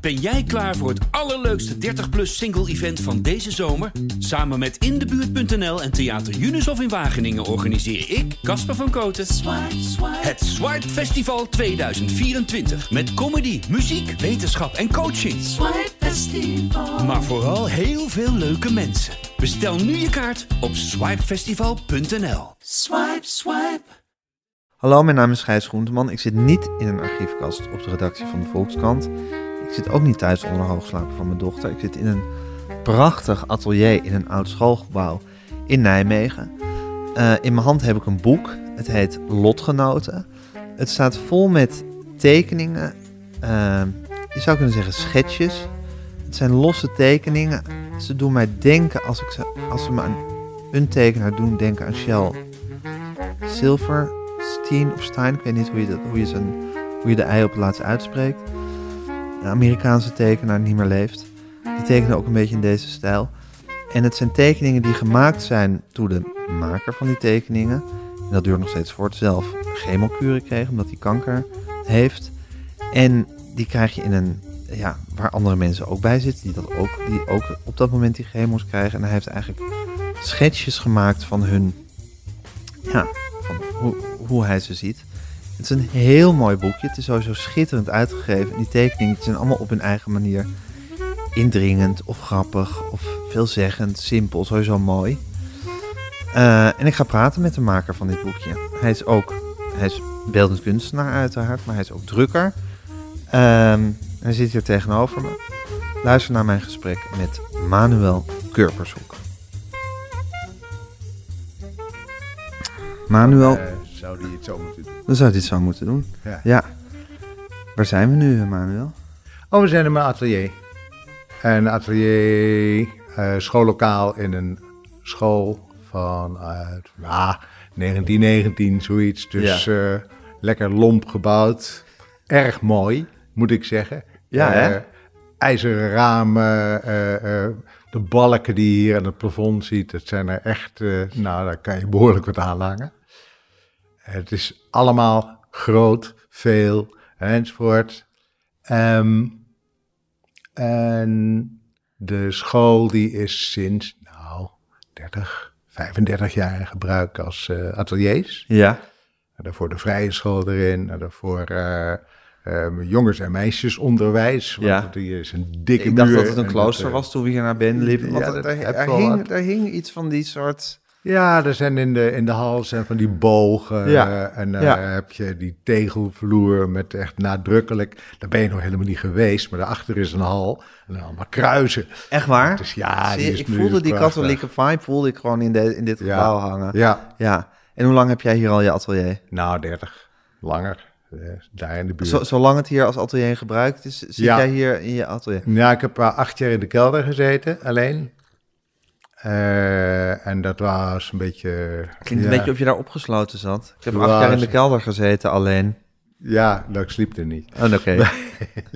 Ben jij klaar voor het allerleukste 30-plus single-event van deze zomer? Samen met Indebuurt.nl en Theater Junushof in Wageningen organiseer ik, Casper van Koten, het Swipe Festival 2024. Met comedy, muziek, wetenschap en coaching. Maar vooral heel veel leuke mensen. Bestel nu je kaart op swipefestival.nl. Hallo, mijn naam is Gijs Groenteman. Ik zit niet in een archiefkast op de redactie van de Volkskrant. Ik zit ook niet thuis onder hoogslapen van mijn dochter. Ik zit in een prachtig atelier in een oud schoolgebouw in Nijmegen. Eh, in mijn hand heb ik een boek. Het heet Lotgenoten. Het staat vol met tekeningen. eh, je zou kunnen zeggen schetsjes. Het zijn losse tekeningen. Ze doen mij denken, als, ik ze, als ze me aan een tekenaar doen, denken aan Shell Silverstein of Stein. Ik weet niet hoe je, dat, hoe je, zijn, hoe je de ei op het laatst uitspreekt. Een Amerikaanse tekenaar die niet meer leeft. Die tekende ook een beetje in deze stijl. En het zijn tekeningen die gemaakt zijn door de maker van die tekeningen. En dat duurt nog steeds voort. Zelf chemokuren kreeg omdat hij kanker heeft. En die krijg je in een... Ja, waar andere mensen ook bij zitten. Die, dat ook, die ook op dat moment die chemo's krijgen. En hij heeft eigenlijk schetsjes gemaakt van hun ja, van hoe, hoe hij ze ziet. Het is een heel mooi boekje. Het is sowieso schitterend uitgegeven. En die tekeningen die zijn allemaal op hun eigen manier indringend of grappig of veelzeggend, simpel, sowieso mooi. Eh, en ik ga praten met de maker van dit boekje. Hij is ook, hij is beeldend kunstenaar uiteraard, maar hij is ook drukker. Ehm, hij zit hier tegenover me. Luister naar mijn gesprek met Manuel Kurpershoek. Manuel, Eh, zou die het zo moeten doen? dan zou dit zo moeten doen. Ja. Ja. Waar zijn we nu, eh, Manuel? Oh, we zijn in mijn atelier. Een atelier, eh, schoollokaal in een school van uit, ah, 1919, zoiets. Dus eh, lekker lomp gebouwd. Erg mooi, moet ik zeggen. Ja, hè? Eh, IJzeren ramen, eh, eh, de balken die je hier aan het plafond ziet. Dat zijn er echt, eh, nou, daar kan je behoorlijk wat aan hangen. Het is allemaal groot, veel enzovoort. Ehm, en de school die is sinds nou, 30, 35 jaar in gebruik als eh, ateliers. Ja. En daarvoor de vrije school erin. En daarvoor eh, ehm, jongens- en meisjesonderwijs. Want Ja. ja. die is een dikke Ik dacht muur dat het een en klooster eh, was toen we hier naar binnen liepen. Want Ja, er, daar- er daar hing, hing- er hing iets van die soort... Ja, er zijn in de, in de hal zijn van die bogen. Ja, eh, En daar ja. heb je die tegelvloer met echt nadrukkelijk. Daar ben je nog helemaal niet geweest, maar daarachter is een hal. En dan allemaal kruisen. Echt waar? Dus ja, Zie die je, is ik nu voelde dus die prachtig. katholieke vibe voelde ik gewoon in, de, in dit Ja. gebouw hangen. Ja, Ja. En hoe lang heb jij hier al je atelier? nou 30. Langer. eh, daar in de buurt. Zo, zolang het hier als atelier gebruikt is, zit Ja. jij hier in je atelier? Ja, ik heb eh, acht jaar in de kelder gezeten, alleen. Eh, en dat was een beetje... Klinkt ja, een beetje of je daar opgesloten zat. Ik heb Ja, acht jaar in de zeker. kelder gezeten alleen. Ja, nou, ik sliep er niet. Oh, oké.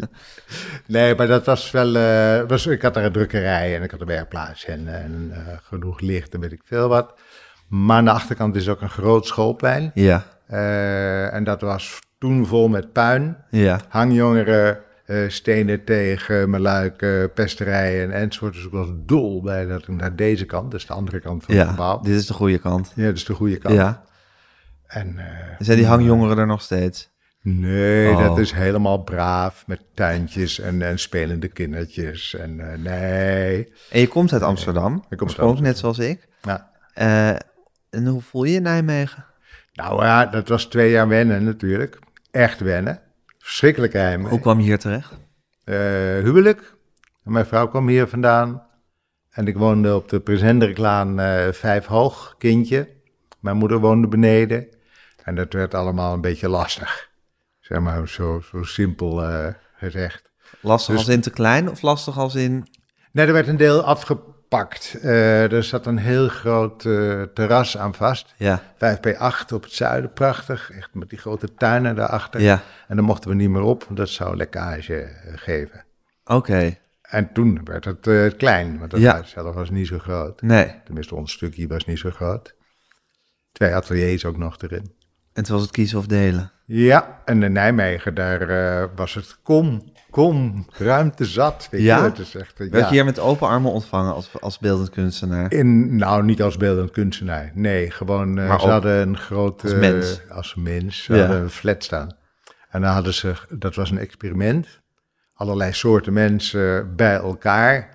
Nee, maar dat was wel. eh, was, ik had daar een drukkerij en ik had een werkplaats en, en, eh, genoeg licht en weet ik veel wat. Maar aan de achterkant is ook een groot schoolplein. Ja. Eh, en dat was toen vol met puin. Ja. Hangjongeren, eh, stenen tegen, meluiken, pesterijen enzovoort. Dus ik was dol bij dat ik naar deze kant, dus de andere kant van het Ja. gebouw. Dit is de goede kant. Ja, dus de goede kant. Ja. En, eh, Zijn die hangjongeren er nog steeds? Nee, Oh. dat is helemaal braaf met tuintjes en, en spelende kindertjes. En eh, nee. Nou, En je komt uit Amsterdam. uit oorspronkelijk, net zoals ik. Ja. Eh, en hoe voel je je in Nijmegen? Nou ja, dat was twee jaar wennen natuurlijk. Echt wennen. Verschrikkelijk heim. Hoe kwam je hier terecht? huwelijk. En Mijn vrouw kwam hier vandaan. En ik woonde op de Presenderklaan eh vijf hoog, kindje. Mijn moeder woonde beneden. En dat werd allemaal een beetje lastig. Zeg maar zo, zo simpel eh, gezegd. Lastig Dus- als in te klein of lastig als in... Nee, er werd een deel afgepakt. Eh, er zat een heel groot eh, terras aan vast. Ja, 5P8 op het zuiden, prachtig. Echt met die grote tuinen daarachter. ja. En dan mochten we niet meer op, want dat zou lekkage eh, geven. Oké, En toen werd het eh, klein, want het Ja. huis zelf was niet zo groot. nee. Tenminste, ons stukje was niet zo groot. Twee ateliers ook nog erin. En toen was het kiezen of delen. Ja, en in Nijmegen, daar eh, was het kom. kom, ruimte zat. Weet Ja? je wat het eh, zegt. Werd je hier met open armen ontvangen als, als beeldend kunstenaar? In, nou, niet als beeldend kunstenaar. Nee, gewoon. eh, Maar ze ook hadden een grote. als mens. Als mens. Ze Ja. hadden een flat staan. En dan hadden ze. Dat was een experiment. Allerlei soorten mensen bij elkaar.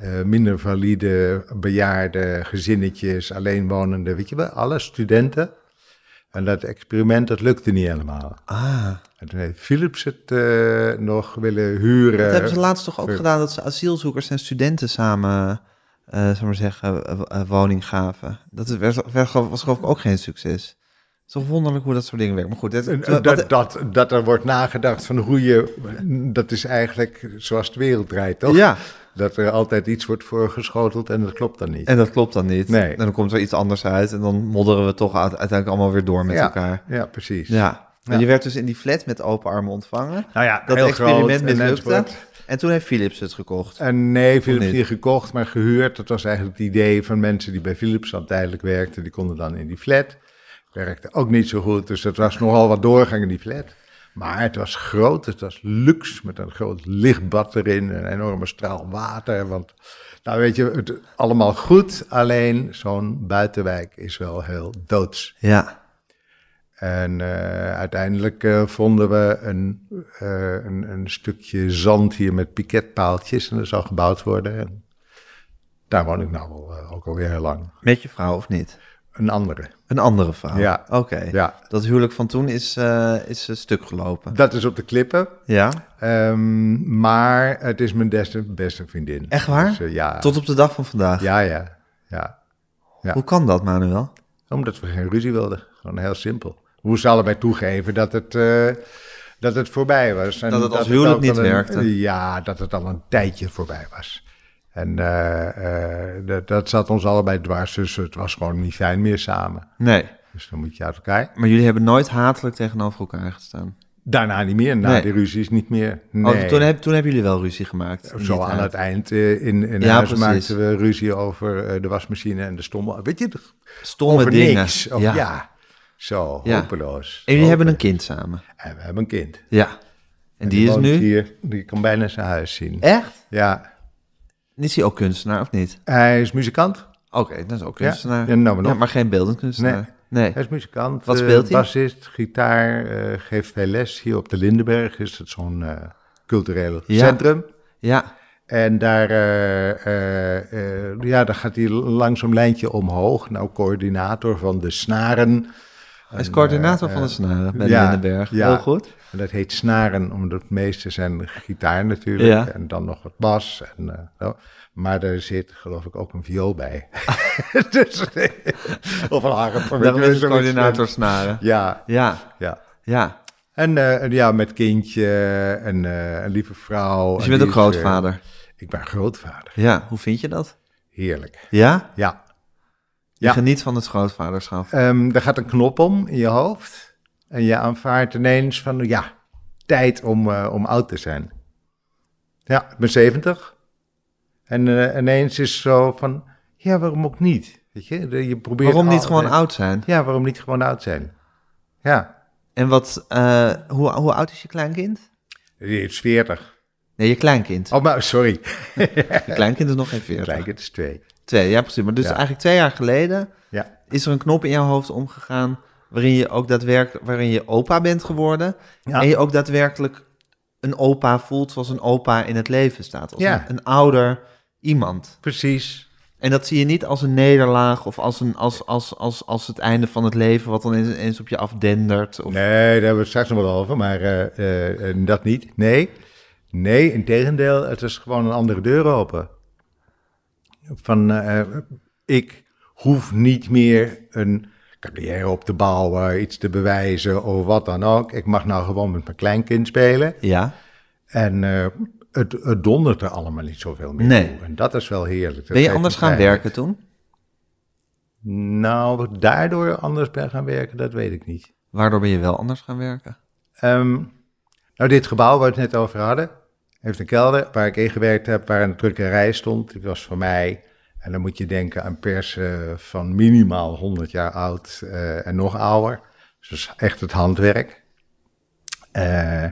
Eh, minder valide, bejaarde, gezinnetjes, alleenwonende. Weet je wel, alle studenten. En dat experiment, dat lukte niet helemaal. Ah, En toen heeft Philips het eh, nog willen huren. dat hebben ze laatst toch ook eh, gedaan dat ze asielzoekers en studenten samen, eh zal ik maar zeggen, eh, eh, woning gaven. Dat werd, werd, was geloof ik ook geen succes. Het is toch wonderlijk hoe dat soort dingen werken. Maar goed, dat, En, eh, wat- dat, dat, dat er wordt nagedacht van hoe je. Dat is eigenlijk zoals de wereld draait, toch? ja, Dat er altijd iets wordt voorgeschoteld en dat klopt dan niet. en dat klopt dan niet. Nee. En dan komt er iets anders uit en dan modderen we toch uit- uiteindelijk allemaal weer door met ja, elkaar. Ja, precies. Ja. En Ja. je werd dus in die flat met open armen ontvangen. Nou ja, Dat heel experiment groot en mislukte. enzovoort. En toen heeft Philips het gekocht. En nee, Philips niet? niet gekocht, maar gehuurd. Dat was eigenlijk het idee van mensen die bij Philips dan tijdelijk werkten. Die konden dan in die flat. Werkte ook niet zo goed, dus dat was nogal wat doorgang in die flat. Maar het was groot, het was luxe, met een groot lichtbad erin, een enorme straal water. Want, nou weet je, het, allemaal goed, alleen zo'n buitenwijk is wel heel doods. Ja. En eh, uiteindelijk eh, vonden we een, eh, een, een stukje zand hier met piketpaaltjes. En dat zou gebouwd worden. En daar woon ik nou al, eh, ook alweer heel lang. Met je vrouw of niet? Een andere. Een andere vrouw. Ja. Oké. Ja, Dat huwelijk van toen is, eh, is een stuk gelopen. dat is op de klippen. Ja. Ehm, maar het is mijn des- beste vriendin. Echt waar? eh, ja. Tot op de dag van vandaag. ja, ja, ja. ja. Hoe kan dat, Manuel? Omdat we geen ruzie wilden. Gewoon heel simpel. We moesten allebei toegeven dat het, eh, dat het voorbij was. En Dat het als huwelijk ook al niet een- werkte. Ja, dat het al een tijdje voorbij was. En eh, eh, dat, dat zat ons allebei dwars. Dus het was gewoon niet fijn meer samen. Nee. Dus dan moet je uit elkaar. Maar jullie hebben nooit hatelijk tegenover elkaar gestaan. Daarna niet meer. Na Nee. die ruzies niet meer. Nee. Oh, toen, heb, toen hebben jullie wel ruzie gemaakt. in Zo die aan tijd. het eind eh, in, in Ja, huis precies. maakten we ruzie over eh, de wasmachine en de stomme... Weet je, Stomme over dingen. niks. Of, ja. ja. Zo, Ja. hopeloos. En jullie hebben Hopeloos. een kind samen. En we hebben een kind. Ja. En, die, is woont nu? Eh? Hier, die kan bijna zijn huis zien. Echt? Ja, En Is hij ook kunstenaar of niet? hij is muzikant. Oké, dat is ook kunstenaar. Ja, nou maar nog. maar geen beeldend kunstenaar. Nee. Hij is muzikant. Wat eh, speelt hij? Bassist, gitaar, eh, geeft hij les. Hier op de Lindenberg is het zo'n eh, cultureel Ja. centrum. Ja. En daar, eh, eh, eh, ja, daar gaat hij langs een lijntje omhoog. Nou, coördinator van de snaren. Hij is coördinator van de snaren bij eh, ja, Lindenberg. ja. Heel goed. En dat heet snaren, omdat het meeste zijn gitaar natuurlijk. Ja. En dan nog wat bas. En, eh, zo. Maar er zit geloof ik ook een viool bij. dus, of een harp. weet je wel, Daarom is zoiets. het coördinator snaren. Ja, Ja, ja. ja. En eh, en ja, met kindje en eh, een lieve vrouw. Dus je En bent die ook is, eh, grootvader. ik ben grootvader. Ja, hoe vind je dat? Heerlijk. Ja? Ja. Je Ja. geniet van het grootvaderschap. Ehm er gaat een knop om in je hoofd. En je aanvaardt ineens van, ja, tijd om, eh, om oud te zijn. Ja, ik ben 70. En eh, ineens is zo van, ja, waarom ook niet? Weet je, de- je probeert Waarom niet altijd- gewoon oud zijn? Ja, waarom niet gewoon oud zijn? Ja, En wat, eh, hoe, hoe oud is je kleinkind? die is 40. Nee, je kleinkind. Oh, maar sorry. Je kleinkind is nog geen 40. Kijk, het is twee. Twee, ja precies. Maar dus Ja. eigenlijk twee jaar geleden Ja, is er een knop in jouw hoofd omgegaan... waarin je ook daadwerkelijk, waarin je opa bent geworden... Ja. en je ook daadwerkelijk een opa voelt zoals een opa in het leven staat. Als Ja. een, een ouder iemand. precies. En dat zie je niet als een nederlaag of als, een, als, als, als, als het einde van het leven wat dan eens op je afdendert. Of... Nee, daar hebben we het straks nog wel over, maar eh, eh, eh, dat niet. Nee, nee, in tegendeel, het is gewoon een andere deur open. Van, eh, ik hoef niet meer een carrière op te bouwen, iets te bewijzen of wat dan ook. Ik mag nou gewoon met mijn kleinkind spelen. Ja, En eh, het, het dondert er allemaal niet zoveel meer Nee. toe. En dat is wel heerlijk. Dat ben je geeft anders me gaan vrijheid. werken toen? Nou, of ik daardoor anders ben gaan werken, dat weet ik niet. Waardoor ben je wel anders gaan werken? Ehm, nou, dit gebouw waar we het net over hadden, heeft een kelder waar ik in gewerkt heb, waar een drukkerij stond. Die was voor mij. En dan moet je denken aan persen van minimaal 100 jaar oud eh, en nog ouder. Dus dat is echt het handwerk. Eh,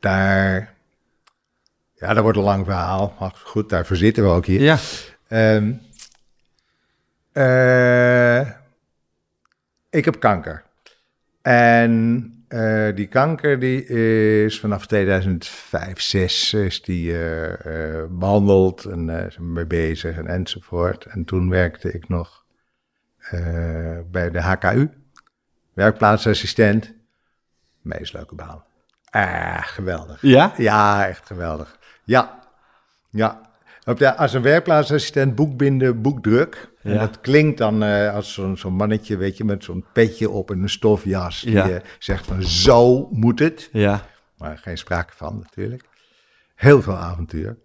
daar Ja, dat wordt een lang verhaal. Maar goed, daarvoor zitten we ook hier. Ja. Ehm, eh, ik heb kanker. En eh, die kanker die is vanaf 2005, 6 is die eh, eh, behandeld en eh, zijn we mee bezig en enzovoort. En toen werkte ik nog eh, bij de HKU, werkplaatsassistent. Meest leuke baan. Ah, geweldig. Ja? Ja, echt geweldig. Ja, ja. Op de, als een werkplaatsassistent boekbinden, boekdruk. En Ja. dat klinkt dan eh, als zo'n zo'n mannetje, weet je, met zo'n petje op en een stofjas. Die Ja. eh, zegt van zo moet het. Ja. Maar geen sprake van natuurlijk. Heel veel avontuur.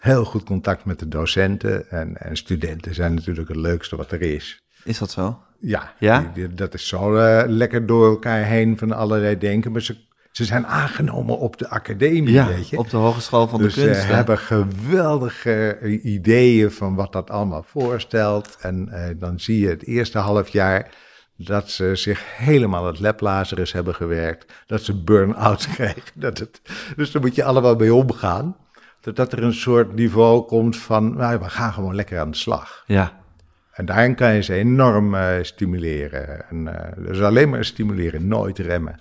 Heel goed contact met de docenten. En, en studenten zijn natuurlijk het leukste wat er is. Is dat zo? Ja, Ja? die- die- dat is zo eh, lekker door elkaar heen van allerlei denken. Maar ze, ze zijn aangenomen op de academie, weet je op de Hogeschool van dus de ze Kunsten. hebben geweldige eh, ideeën van wat dat allemaal voorstelt. En eh, dan zie je het eerste half jaar dat ze zich helemaal het leplazerus hebben gewerkt. Dat ze burn-outs krijgen. Dat het, dus daar moet je allemaal mee omgaan. Dat, dat er een soort niveau komt van, nou, we gaan gewoon lekker aan de slag. Ja. En daarin kan je ze enorm eh, stimuleren. En, eh, dus alleen maar stimuleren, nooit remmen.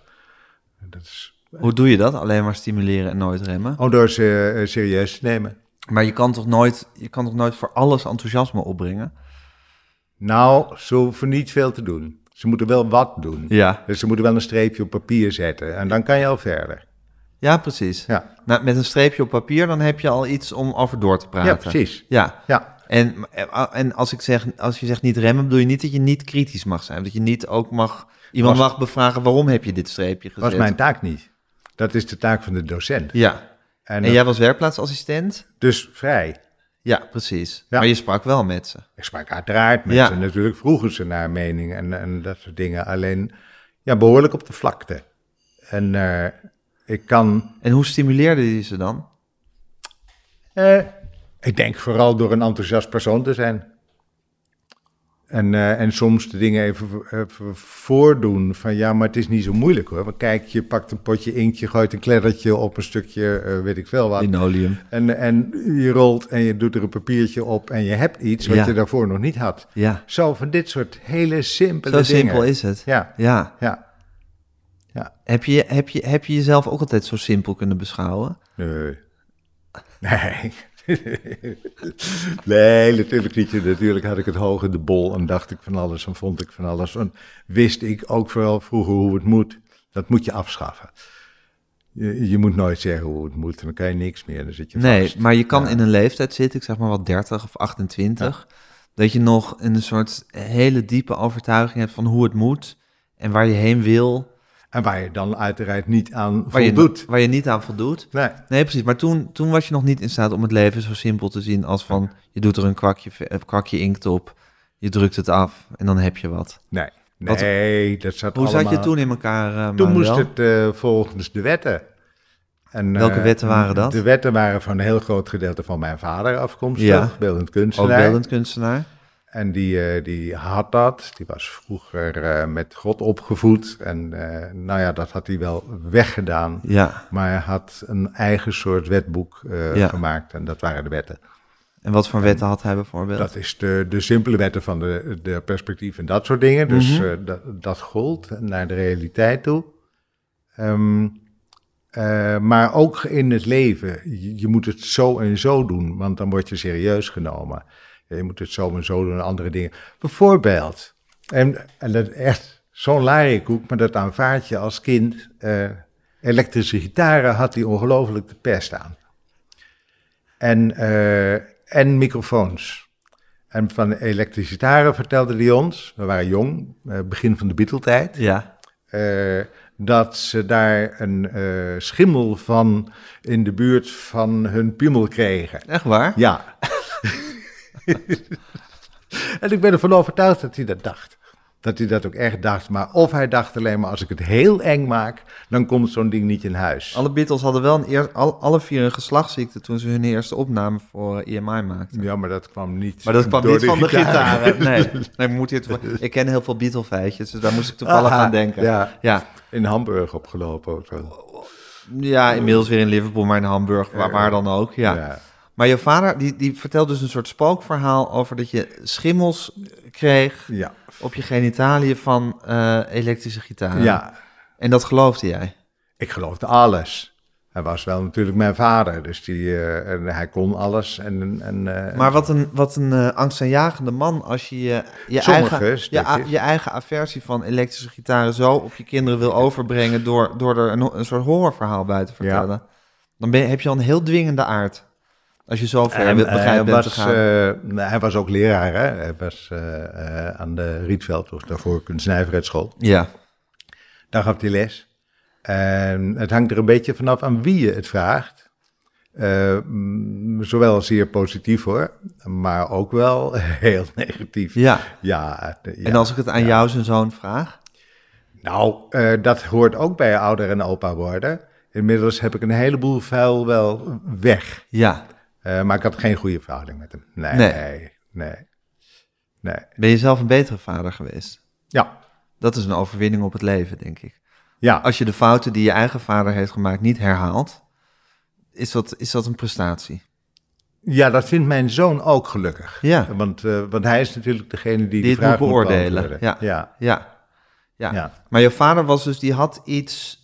Dat is, Hoe doe je dat? Alleen maar stimuleren en nooit remmen. oh, door ze eh, serieus te nemen. Maar je kan toch nooit, je kan toch nooit voor alles enthousiasme opbrengen? Nou, ze hoeven niet veel te doen. Ze moeten wel wat doen. Ja. Dus ze moeten wel een streepje op papier zetten. En dan kan je al verder. Ja, precies. Ja, Nou, met een streepje op papier, dan heb je al iets om over door te praten. ja precies. Ja. Ja. En, en als, ik zeg, als je zegt niet remmen, bedoel je niet dat je niet kritisch mag zijn. Dat je niet ook mag, iemand Was- mag bevragen waarom heb je dit streepje gezet. was mijn taak niet. Dat is de taak van de docent. Ja. En, eh, En, dat- jij was werkplaatsassistent? Dus vrij. Ja, precies. Ja. Maar je sprak wel met ze. Ik sprak uiteraard met Ja. ze. Natuurlijk vroegen ze naar mening en, en dat soort dingen. Alleen, ja, behoorlijk op de vlakte. En eh, ik kan En hoe stimuleerde je ze dan? Eh, ik denk vooral door een enthousiast persoon te zijn. En, eh, en soms de dingen even, even voordoen van ja, maar het is niet zo moeilijk hoor. Want kijk, je pakt een potje inkt, je gooit een kleddertje op een stukje, eh, weet ik veel wat. Linoleum. En, en je rolt en je doet er een papiertje op en je hebt iets wat Ja. je daarvoor nog niet had. Ja. Zo van dit soort hele simpele Zo dingen. simpel is het. Ja, Ja. ja. Heb je, heb, je, heb je jezelf ook altijd zo simpel kunnen beschouwen? Nee. Nee. nee, natuurlijk niet. Natuurlijk had ik het hoog in de bol en dacht ik van alles en vond ik van alles. En wist ik ook vooral vroeger hoe het moet. Dat moet je afschaffen. Je, je moet nooit zeggen hoe het moet, dan kan je niks meer. Dan zit je Nee, vast. maar je kan Ja. in een leeftijd zitten, ik zeg maar wat 30 of 28, dat je nog een soort hele diepe overtuiging hebt van hoe het moet en waar je heen wil, En waar je dan uiteraard niet aan waar, voldoet. Je, waar je niet aan voldoet. Nee, Nee, precies. Maar toen, toen was je nog niet in staat om het leven zo simpel te zien als van je doet er een kwakje, ve- een kwakje inkt op, je drukt het af en dan heb je wat. nee, Wat- nee dat zat Hoe zat allemaal- je toen in elkaar? eh, Toen Manuel? moest het eh, volgens de wetten. En, Welke eh, wetten waren dat? De wetten waren van een heel groot gedeelte van mijn vader afkomstig, Ja. beeldend ook kunstenaar. beeldend kunstenaar. En die, eh, die had dat. Die was vroeger eh, met God opgevoed. En eh, nou ja, dat had hij wel weggedaan. Ja. Maar hij had een eigen soort wetboek eh, Ja. gemaakt. En dat waren de wetten. En wat voor wetten had hij bijvoorbeeld? Dat is de, de simpele wetten van de, de perspectief en dat soort dingen. Dus eh, dat, dat gold naar de realiteit toe. Ehm, eh, maar ook in het leven. Je, je moet het zo en zo doen, want dan word je serieus genomen. Je moet het zo en zo doen en andere dingen. Bijvoorbeeld, en, en dat is echt zo'n larikoek, maar dat aanvaard je als kind. eh, elektrische gitaren had hij ongelooflijk de pest aan. En, eh, en microfoons. En van elektrische gitaren vertelde hij ons, we waren jong, eh, begin van de Beatletijd Ja. eh, dat ze daar een eh, schimmel van in de buurt van hun piemel kregen. Echt waar? Ja. en ik ben ervan overtuigd dat hij dat dacht. Dat hij dat ook echt dacht. Maar of hij dacht alleen maar, als ik het heel eng maak, dan komt zo'n ding niet in huis. Alle Beatles hadden wel een eer, al, alle vier een geslachtsziekte toen ze hun eerste opname voor eh, EMI maakten. Ja, maar dat kwam niet Maar dat kwam door niet van de gitaar. gitaren. Nee, nee moet je het, ik ken heel veel Beatle-feitjes, dus daar moest ik toevallig Aha, aan denken. Ja, Ja. in Hamburg opgelopen ook wel. Ja, inmiddels weer in Liverpool, maar in Hamburg, waar, waar dan ook. Ja. Ja. Maar je vader, die, die vertelt dus een soort spookverhaal over dat je schimmels kreeg Ja. op je genitaliën van eh, elektrische gitaren. ja, En dat geloofde jij? ik geloofde alles. Hij was wel natuurlijk mijn vader, dus die, eh, en hij kon alles. En, en, eh, Maar wat een, wat een eh, angstaanjagende man als je je, je, Sommige eigen, je, stukjes. a- je eigen aversie van elektrische gitaren zo op je kinderen wil overbrengen door, door er een, een soort horrorverhaal bij te vertellen. Dan ben, je- heb je al een heel dwingende aard. Als je zo ver En, wil- eh, begrijpt hij, bent te was, gaan. eh, nou, hij was ook leraar. Hè? Hij was eh, eh, aan de Rietveld, of daarvoor kunstnijverheidsschool. ja. Daar gaf hij les. En het hangt er een beetje vanaf aan wie je het vraagt. Eh, mm, zowel zeer positief hoor, maar ook wel heel negatief. Ja. Ja, de- ja. En als ik het aan jou zijn zoon vraag? Nou, eh, dat hoort ook bij ouder en opa worden. Inmiddels heb ik een heleboel vuil wel weg. Ja. Eh, maar ik had geen goede verhouding met hem. Nee, Nee. nee, nee. nee. Ben je zelf een betere vader geweest? Ja, Dat is een overwinning op het leven, denk ik. ja. Als je de fouten die je eigen vader heeft gemaakt niet herhaalt, is dat, is dat een prestatie. Ja, dat vindt mijn zoon ook gelukkig. Ja. Want, eh, want hij is natuurlijk degene die, Die die het vraag moet beoordelen. beantwoorden. Ja. Ja. Ja. ja. Ja. Maar je vader was dus, die had iets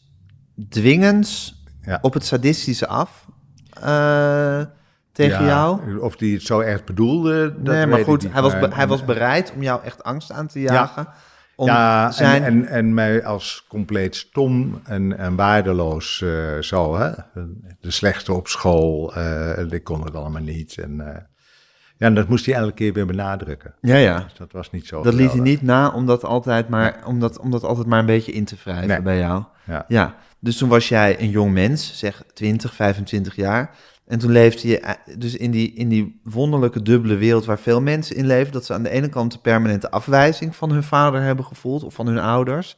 dwingends Ja. op het sadistische af eh, tegen Ja, jou. Of hij het zo echt bedoelde, dat nee, weet maar ik goed, niet, hij was, maar- be- hij was bereid om jou echt angst aan te jagen. Om ja, en- zijn... en, en, mij als compleet stom en, en waardeloos eh, zo, hè. De slechtste op school, eh ik kon het allemaal niet. En, eh, ja, en dat moest hij elke keer weer benadrukken. ja, ja. Dus dat was niet zo Dat liet hij geweldig. niet na om dat altijd maar, om dat, om dat altijd maar een beetje in te wrijven Nee. bij jou. Ja. Ja, dus toen was jij een jong mens, zeg 20, 25 jaar. En toen leefde je eh, dus in die, in die wonderlijke dubbele wereld waar veel mensen in leven. Dat ze aan de ene kant de permanente afwijzing van hun vader hebben gevoeld of van hun ouders.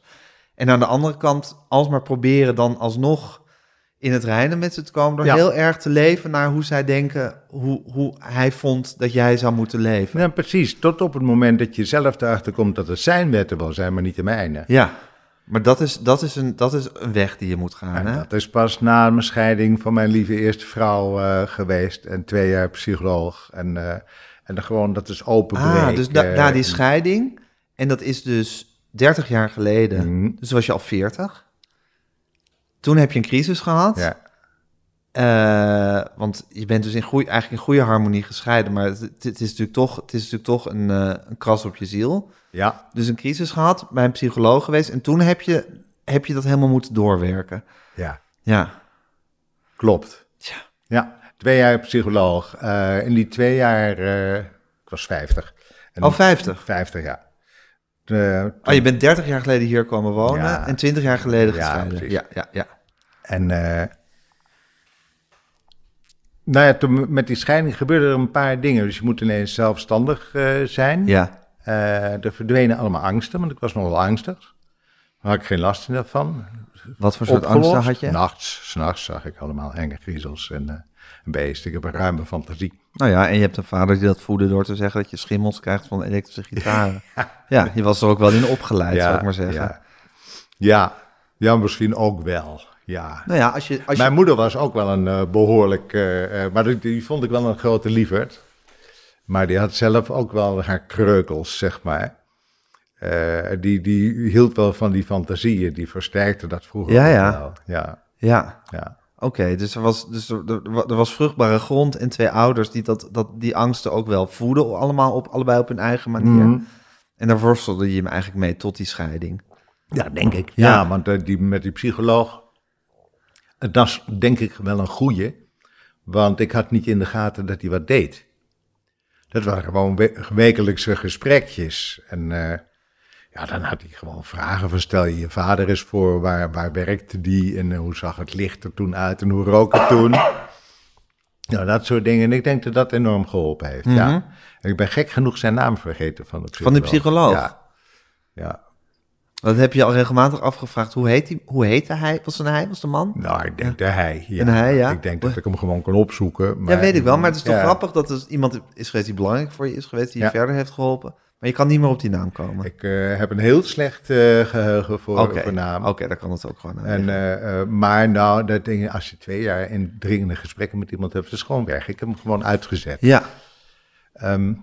En aan de andere kant alsmaar proberen dan alsnog in het reinen met ze te komen. Door Ja. heel erg te leven naar hoe zij denken, hoe, hoe hij vond dat jij zou moeten leven. Ja, precies. Tot op het moment dat je zelf erachter komt dat het zijn wetten wel zijn, maar niet de mijne. Ja, maar dat is, dat is, een, dat is een weg die je moet gaan. En Hè? dat is pas na mijn scheiding van mijn lieve eerste vrouw eh, geweest en twee jaar psycholoog. En, eh, en dan gewoon dat is openbreken. Ah, dus na, na die eh, En- scheiding, en dat is dus 30 jaar geleden, Mhm. dus was je al 40. Toen heb je een crisis gehad, Ja, eh, want je bent dus in goeie, eigenlijk in goede harmonie gescheiden, maar het, het is natuurlijk toch, het is natuurlijk toch een, eh, een kras op je ziel. ja, Dus een crisis gehad, bij een psycholoog geweest, en toen heb je, heb je dat helemaal moeten doorwerken. ja, Ja, klopt. Tja. Ja, twee jaar psycholoog. Eh, in die twee jaar, eh, ik was 50. En al 50. 50, ja. Eh, Oh, je bent 30 jaar geleden hier komen wonen Ja. en 20 jaar geleden Ja, gescheiden. precies. Ja, ja, ja. En eh, nou ja, toen met die scheiding gebeurden er een paar dingen. Dus je moet ineens zelfstandig eh, zijn. Ja, Eh, er verdwenen allemaal angsten, want ik was nogal angstig. Daar had ik geen last van. wat voor soort angsten had Nou, je? Nachts, s'nachts zag ik allemaal enge griezels en eh, een beest. Ik heb een ruime fantasie. Nou ja, en je hebt een vader die dat voedde door te zeggen dat je schimmels krijgt van elektrische gitaren. ja, je was er ook wel in opgeleid, zou ik maar zeggen. Ja, ja, Ja, misschien ook wel. Ja. Nou ja, als je... Als je Mijn moeder was ook wel een eh, behoorlijk, eh, eh, maar die, die vond ik wel een grote lieverd. Maar die had zelf ook wel haar kreukels, zeg maar. Eh, die, die hield wel van die fantasieën, die versterkte dat vroeger Ja, ook ja. wel. Ja, Ja, ja. oké. dus er was, dus er, er wa- er was vruchtbare grond en twee ouders die dat, dat, die angsten ook wel voeden. Allemaal op, allebei op hun eigen manier. Mhm. En daar worstelde je hem eigenlijk mee tot die scheiding. Ja, denk ik. Ja. Ja, want eh, die, met die psycholoog, eh, dat is denk ik wel een goeie. Want ik had niet in de gaten dat hij wat deed. Dat waren gewoon we- wekelijkse gesprekjes. En eh, ja, dan had hij gewoon vragen van stel je je vader eens voor, waar, waar werkte die en eh, hoe zag het licht er toen uit en hoe rook het toen. Nou, dat soort dingen. En ik denk dat dat enorm geholpen heeft, ja. En ik ben gek genoeg zijn naam vergeten Mhm. van de Van psycholoog. die psycholoog? Ja. ja. Dat heb je al regelmatig afgevraagd. Hoe, heet die, hoe heette hij? Was het een hij? Was het een man? Nou, ik denk de hij. Ja. Een hij, ja. Ik denk dat ik hem gewoon kan opzoeken. Maar, ja, weet ik wel. Maar het is toch Ja. grappig dat er iemand is geweest die belangrijk voor je is geweest, die je Ja. verder heeft geholpen. Maar Maar je kan niet meer op die naam komen. Ik eh, heb een heel slecht eh, geheugen voor, Oké, voor naam. Oké, daar kan het ook gewoon aan. En, liggen. eh, eh, maar nou, dat ding, als je twee jaar in dringende gesprekken met iemand hebt, is het gewoon weg. Ik heb hem gewoon uitgezet. ja, Ehm,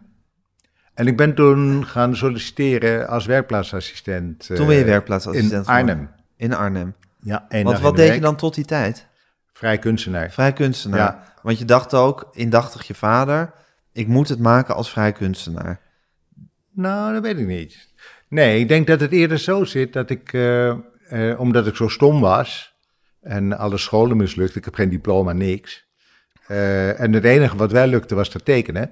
en ik ben toen gaan solliciteren als werkplaatsassistent. eh, toen ben je werkplaatsassistent In Arnhem. geworden. In Arnhem. Ja, één Want dag wat in de deed je week. dan tot die tijd? Vrij kunstenaar. Vrij kunstenaar. Ja. Want je dacht ook, indachtig je vader, ik moet het maken als vrij kunstenaar. Nou, dat weet ik niet. Nee, ik denk dat het eerder zo zit dat ik, eh, eh, omdat ik zo stom was en alle scholen mislukt, ik heb geen diploma, niks. Eh, en het enige wat wel lukte was dat tekenen.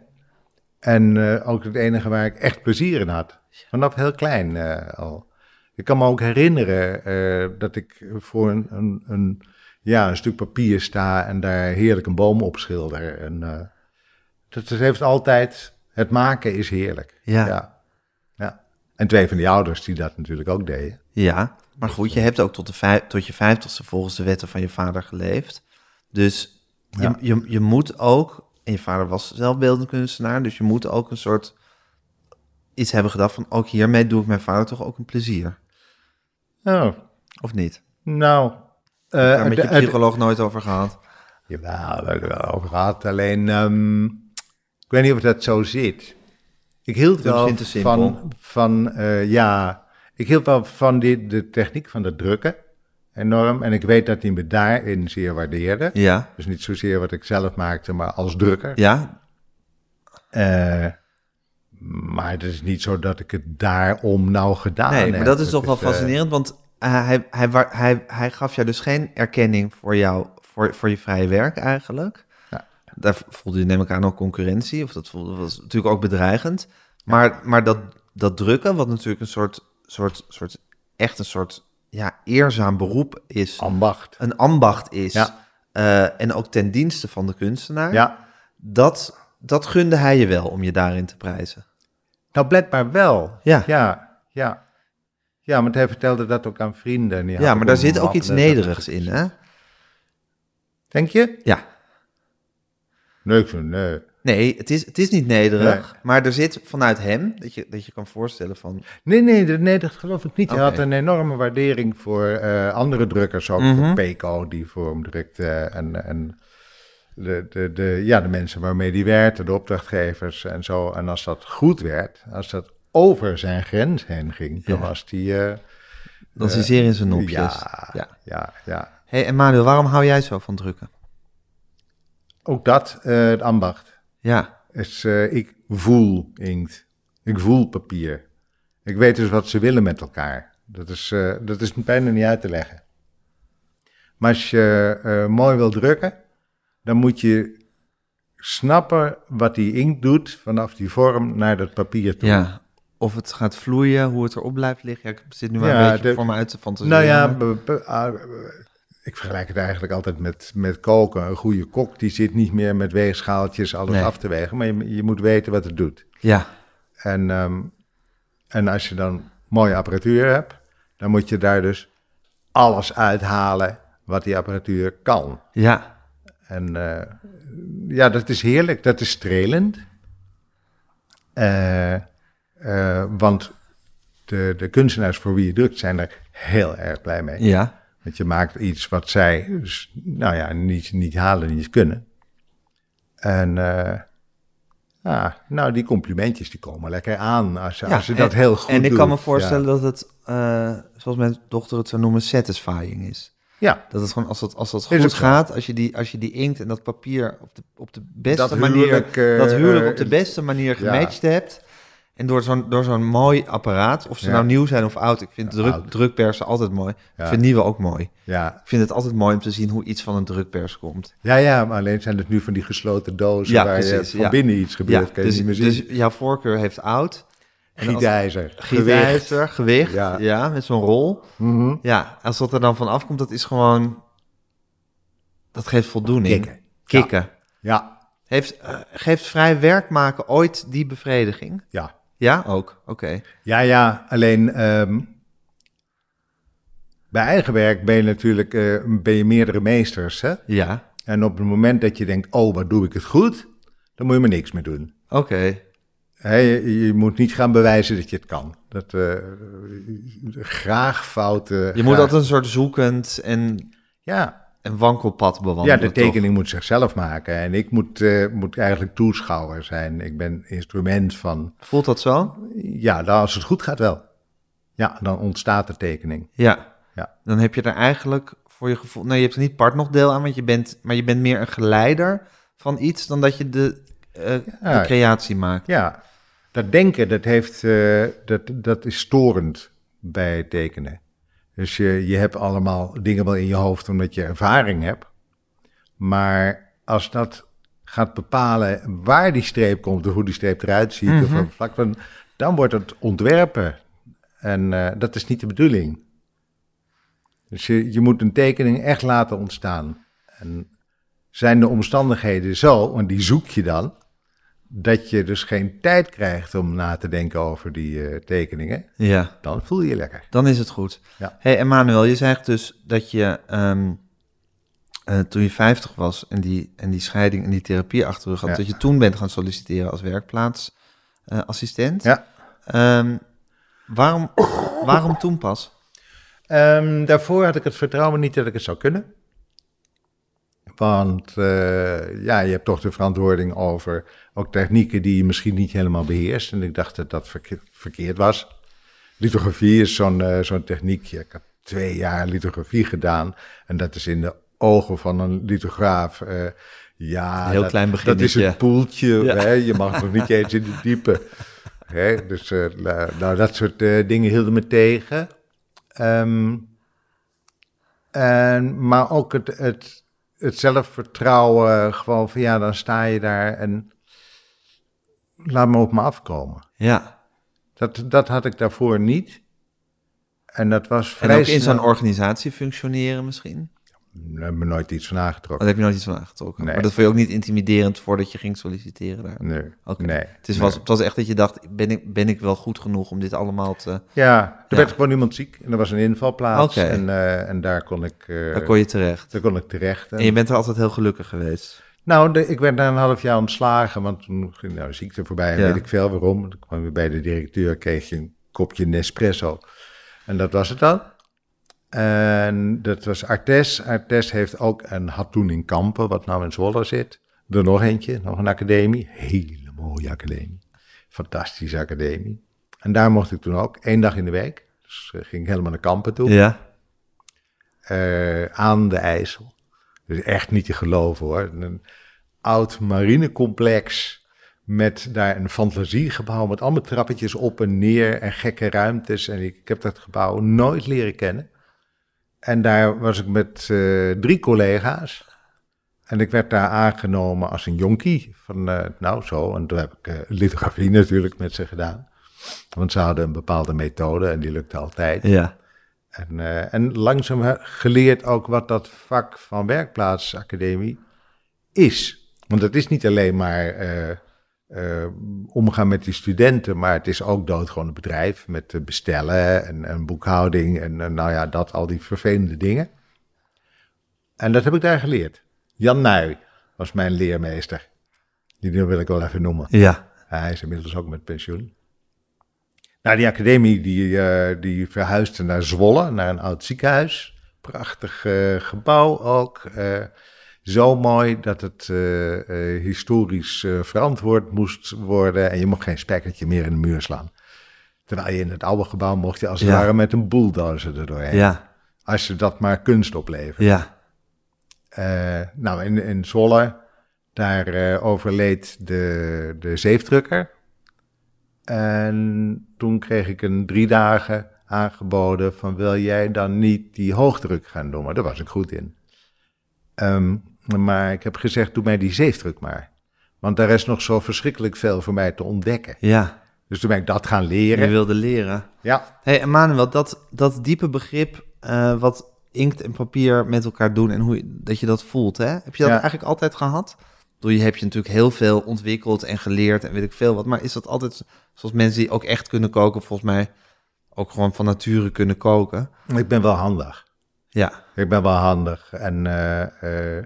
En eh, ook het enige waar ik echt plezier in had. Vanaf heel klein eh, al. Ik kan me ook herinneren eh, dat ik voor een, een, een, ja, een stuk papier sta en daar heerlijk een boom op schilder. En, eh, dat, dat heeft altijd, het maken is heerlijk. Ja. ja. Ja. ja. En twee van die ouders die dat natuurlijk ook deden. Maar goed, je hebt ook tot, de vijf, tot je vijftigste volgens de wetten van je vader geleefd. Dus je, Ja. je, je moet ook, en je vader was zelf beeldend kunstenaar, dus je moet ook een soort iets hebben gedacht van, ook hiermee doe ik mijn vader toch ook een plezier. Oh, Of niet? nou. eh, Daar met je het- het- psycholoog nooit over gehad. Jawel, we hebben het wel over gehad. Alleen, ehm, ik weet niet of dat zo zit. Ik hield Doe het wel vind te simpel. van, van eh, ja, ik hield wel van die, de techniek van het drukken enorm. En ik weet dat hij me daarin zeer waardeerde. Ja, Dus niet zozeer wat ik zelf maakte, maar als drukker. ja, Eh, maar het is niet zo dat ik het daarom nou gedaan nee, heb. maar dat is toch wel eh, fascinerend, want eh, hij, hij, wa- hij, hij gaf jou dus geen erkenning voor, jou, voor, voor je vrije werk eigenlijk. Ja. Daar voelde je neem ik aan ook concurrentie, of dat voelde, was natuurlijk ook bedreigend. Maar, maar dat, dat drukken, wat natuurlijk een soort, soort, soort echt een soort ja, eerzaam beroep is, ambacht. een ambacht is, Ja. eh, en ook ten dienste van de kunstenaar, Ja, dat, dat gunde hij je wel om je daarin te prijzen. nou blijkbaar wel. Ja. Ja, ja. Ja, want hij vertelde dat ook aan vrienden. en die Ja, hadden maar daar hem zit ook iets makkelijk- nederigs in, hè? Denk je? Ja. Nee, ik vind- nee. Nee, het is, het is niet nederig, Nee. maar er zit vanuit hem, dat je, dat je kan voorstellen van... Nee, nee, dat- nee, dat geloof ik niet. Hij Oké. had een enorme waardering voor eh, andere drukkers, ook Mhm. voor Peco, die voor hem drukte. En, en de, de, de, ja, de mensen waarmee die werkte, de opdrachtgevers en zo. En als dat goed werd, als dat over zijn grens heen ging, dan Ja. was die... eh, Dan is hij zeer in zijn nopjes. ja, eh, Ja. ja, ja, hey, Emmanuel, waarom hou jij zo van drukken? Ook dat, eh, het ambacht. Ja, is, eh, ik voel inkt. Ik voel papier. Ik weet dus wat ze willen met elkaar. Dat is, eh, dat is bijna niet uit te leggen. Maar als je eh, mooi wil drukken, dan moet je snappen wat die inkt doet vanaf die vorm naar dat papier toe. ja. Of het gaat vloeien, hoe het erop blijft liggen. Ja, ik zit nu maar Ja, een beetje de- voor me uit te fantaseren. nou ja, maar- be- be- ah, ik vergelijk het eigenlijk altijd met, met koken. Een goede kok die zit niet meer met weegschaaltjes alles Nee. af te wegen, maar je, je moet weten wat het doet. ja, En, ehm, en als je dan mooie apparatuur hebt, dan moet je daar dus alles uithalen wat die apparatuur kan. ja. En eh, ja, dat is heerlijk, dat is strelend. Eh, eh, want de, de kunstenaars voor wie je drukt zijn er heel erg blij mee. ja. Want je maakt iets wat zij, dus, nou ja, niet, niet halen, niet kunnen. En eh, ah, nou, die complimentjes die komen lekker aan als, ze- Ja, als ze dat en- heel goed En ik kan me doet. voorstellen dat het, eh, zoals mijn dochter het zou noemen, satisfying is. Ja, Dat het gewoon, als dat, als dat Is goed ook zo. gaat, als je, die, als je die inkt en dat papier op de, op de beste Dat manier, huwelijk, eh, dat huwelijk op de eh, beste manier ja. gematcht hebt. En door zo'n, door zo'n mooi apparaat, of ze Ja. nou nieuw zijn of oud, ik vind druk, oud. drukpersen altijd mooi. Ja. Ik vind nieuwe ook mooi. ja, Ik vind het altijd mooi om te zien hoe iets van een drukpers komt. ja, ja, maar alleen zijn het nu van die gesloten dozen Ja, waar precies, je eh, van ja. binnen iets gebeurt, kan je dus, niet meer zien. dus jouw voorkeur heeft oud. als- Gietijzer, gewicht. Gietijzer, gewicht, ja. Ja. met zo'n rol. Mhm. Ja, als dat er dan van afkomt, dat is gewoon... Dat geeft voldoening. Kicken. Kikken. Ja, Heeft, eh, geeft vrij werk maken ooit die bevrediging? ja. Ja, ook. Oké. Ja, ja, alleen ehm, bij eigen werk ben je natuurlijk eh, ben je meerdere meesters, hè? Ja. En op het moment dat je denkt, oh, wat doe ik het goed, dan moet je maar niks meer doen. Oké. Hè, je, je moet niet gaan bewijzen dat je het kan. Dat, eh, graag fouten. Je moet altijd een soort zoekend en Ja, een wankelpad bewandelen. ja de toch? tekening moet zichzelf maken. En ik moet, eh, moet eigenlijk toeschouwer zijn. Ik ben instrument van. Voelt dat zo? Ja, dan als het goed gaat wel. Ja, dan ontstaat de tekening. Ja. Ja. Dan heb je er eigenlijk voor je gevoel. Nou, je hebt er niet part nog deel aan, want je bent, maar je bent meer een geleider van iets dan dat je de, eh, Ja. de creatie maakt. Ja, dat denken, dat, heeft, eh, dat, dat is storend bij het tekenen. Dus je, je hebt allemaal dingen wel in je hoofd omdat je ervaring hebt. Maar als dat gaat bepalen waar die streep komt of hoe die streep eruit ziet, of welk vlak van, dan wordt het ontwerpen. En eh, dat is niet de bedoeling. Dus je, je moet een tekening echt laten ontstaan. En zijn de omstandigheden zo, want die zoek je dan, dat je dus geen tijd krijgt om na te denken over die eh, tekeningen, Ja. dan voel je je lekker. Dan is het goed. Ja. Hey Emmanuel, je zegt dus dat je ehm, eh, toen je 50 was en die, en die scheiding en die therapie achter de rug had, Ja. dat je toen bent gaan solliciteren als werkplaatsassistent. Ja. Ehm, waarom, waarom toen pas? Ehm, daarvoor had ik het vertrouwen niet dat ik het zou kunnen. Want eh, ja, je hebt toch de verantwoording over ook technieken die je misschien niet helemaal beheerst. En ik dacht dat dat verke- verkeerd was. Lithografie is zo'n eh, zo'n techniekje. Ik had twee jaar lithografie gedaan. En dat is in de ogen van een lithograaf. eh, ja, Een heel dat, klein dat is beginnetje. een poeltje. Ja. Hè? Je mag nog niet eens in de diepe. Hè? Dus eh, la- nou, dat soort eh, dingen hielden me tegen. Ehm, en, maar ook het, het, het zelfvertrouwen, gewoon van ja, dan sta je daar en laat me op me afkomen. Ja. Dat, dat had ik daarvoor niet. En dat was En vrij ook in snel- zo'n organisatie functioneren misschien? Daar heb ik me nooit iets van aangetrokken. Daar heb je nooit iets van aangetrokken. Nee. Maar dat vond je ook niet intimiderend voordat je ging solliciteren daar. Nee. Oh, Oké. nee Het, is, nee. was, het was echt dat je dacht, ben ik, ben ik wel goed genoeg om dit allemaal te... Ja, er Ja. werd gewoon iemand ziek en er was een invalplaats. Oké. En, eh, en daar kon ik, eh, Daar kon je terecht. daar kon ik terecht. En- En je bent er altijd heel gelukkig geweest. Nou, de- ik werd na een half jaar ontslagen, want toen ging nou, ziekte voorbij en Ja. weet ik veel waarom. Toen kwam je bij de directeur, kreeg je een kopje Nespresso. En dat was het dan. En dat was Artes. Artes heeft ook, en had toen in Kampen, wat nou in Zwolle zit, er nog eentje, nog een academie. Hele mooie academie. Fantastische academie. En daar mocht ik toen ook, één dag in de week. Dus eh, ging ik helemaal naar Kampen toe Ja. eh, aan de IJssel. Dus echt niet te geloven hoor. Een oud marinecomplex met daar een fantasiegebouw met allemaal trappetjes op en neer en gekke ruimtes. En ik, ik heb dat gebouw nooit leren kennen. En daar was ik met eh, drie collega's. En ik werd daar aangenomen als een jonkie. Van, eh, nou zo, en toen heb ik eh, lithografie natuurlijk met ze gedaan. Want ze hadden een bepaalde methode en die lukte altijd. Ja. En, eh, en langzaam he- geleerd ook wat dat vak van werkplaatsacademie is. Want het is niet alleen maar eh, eh, omgaan met die studenten, maar het is ook doodgewoon een bedrijf met eh, bestellen en, en boekhouding en, en nou ja, dat, al die vervelende dingen. En dat heb ik daar geleerd. Jan Nuij was mijn leermeester. Die wil ik wel even noemen. Ja. Hij is inmiddels ook met pensioen. Nou, die academie die, eh, die verhuisde naar Zwolle, naar een oud ziekenhuis. Prachtig eh, gebouw ook. eh, zo mooi dat het eh, eh, historisch eh, verantwoord moest worden. En je mocht geen spijkertje meer in de muur slaan. Terwijl je in het oude gebouw mocht je als het Ja. ware met een bulldozer er doorheen. Ja. Als ze dat maar kunst oplevert. Ja. Eh, nou, in, in Zwolle, daar eh, overleed de, de zeefdrukker. En toen kreeg ik een drie dagen aangeboden van wil jij dan niet die hoogdruk gaan doen? Maar daar was ik goed in. Ehm, maar ik heb gezegd, doe mij die zeefdruk maar. Want daar is nog zo verschrikkelijk veel voor mij te ontdekken. Ja. Dus toen ben ik dat gaan Je leren. wilde leren. Ja, hey, Emmanuel, dat, dat diepe begrip eh, wat inkt en papier met elkaar doen en hoe je, dat je dat voelt, hè? Heb je dat Ja. eigenlijk altijd gehad? Ik bedoel, Je hebt je natuurlijk heel veel ontwikkeld en geleerd en weet ik veel wat. Maar is dat altijd, zoals mensen die ook echt kunnen koken, volgens mij ook gewoon van nature kunnen koken? ik ben wel handig. Ja. Ik ben wel handig en eh, eh,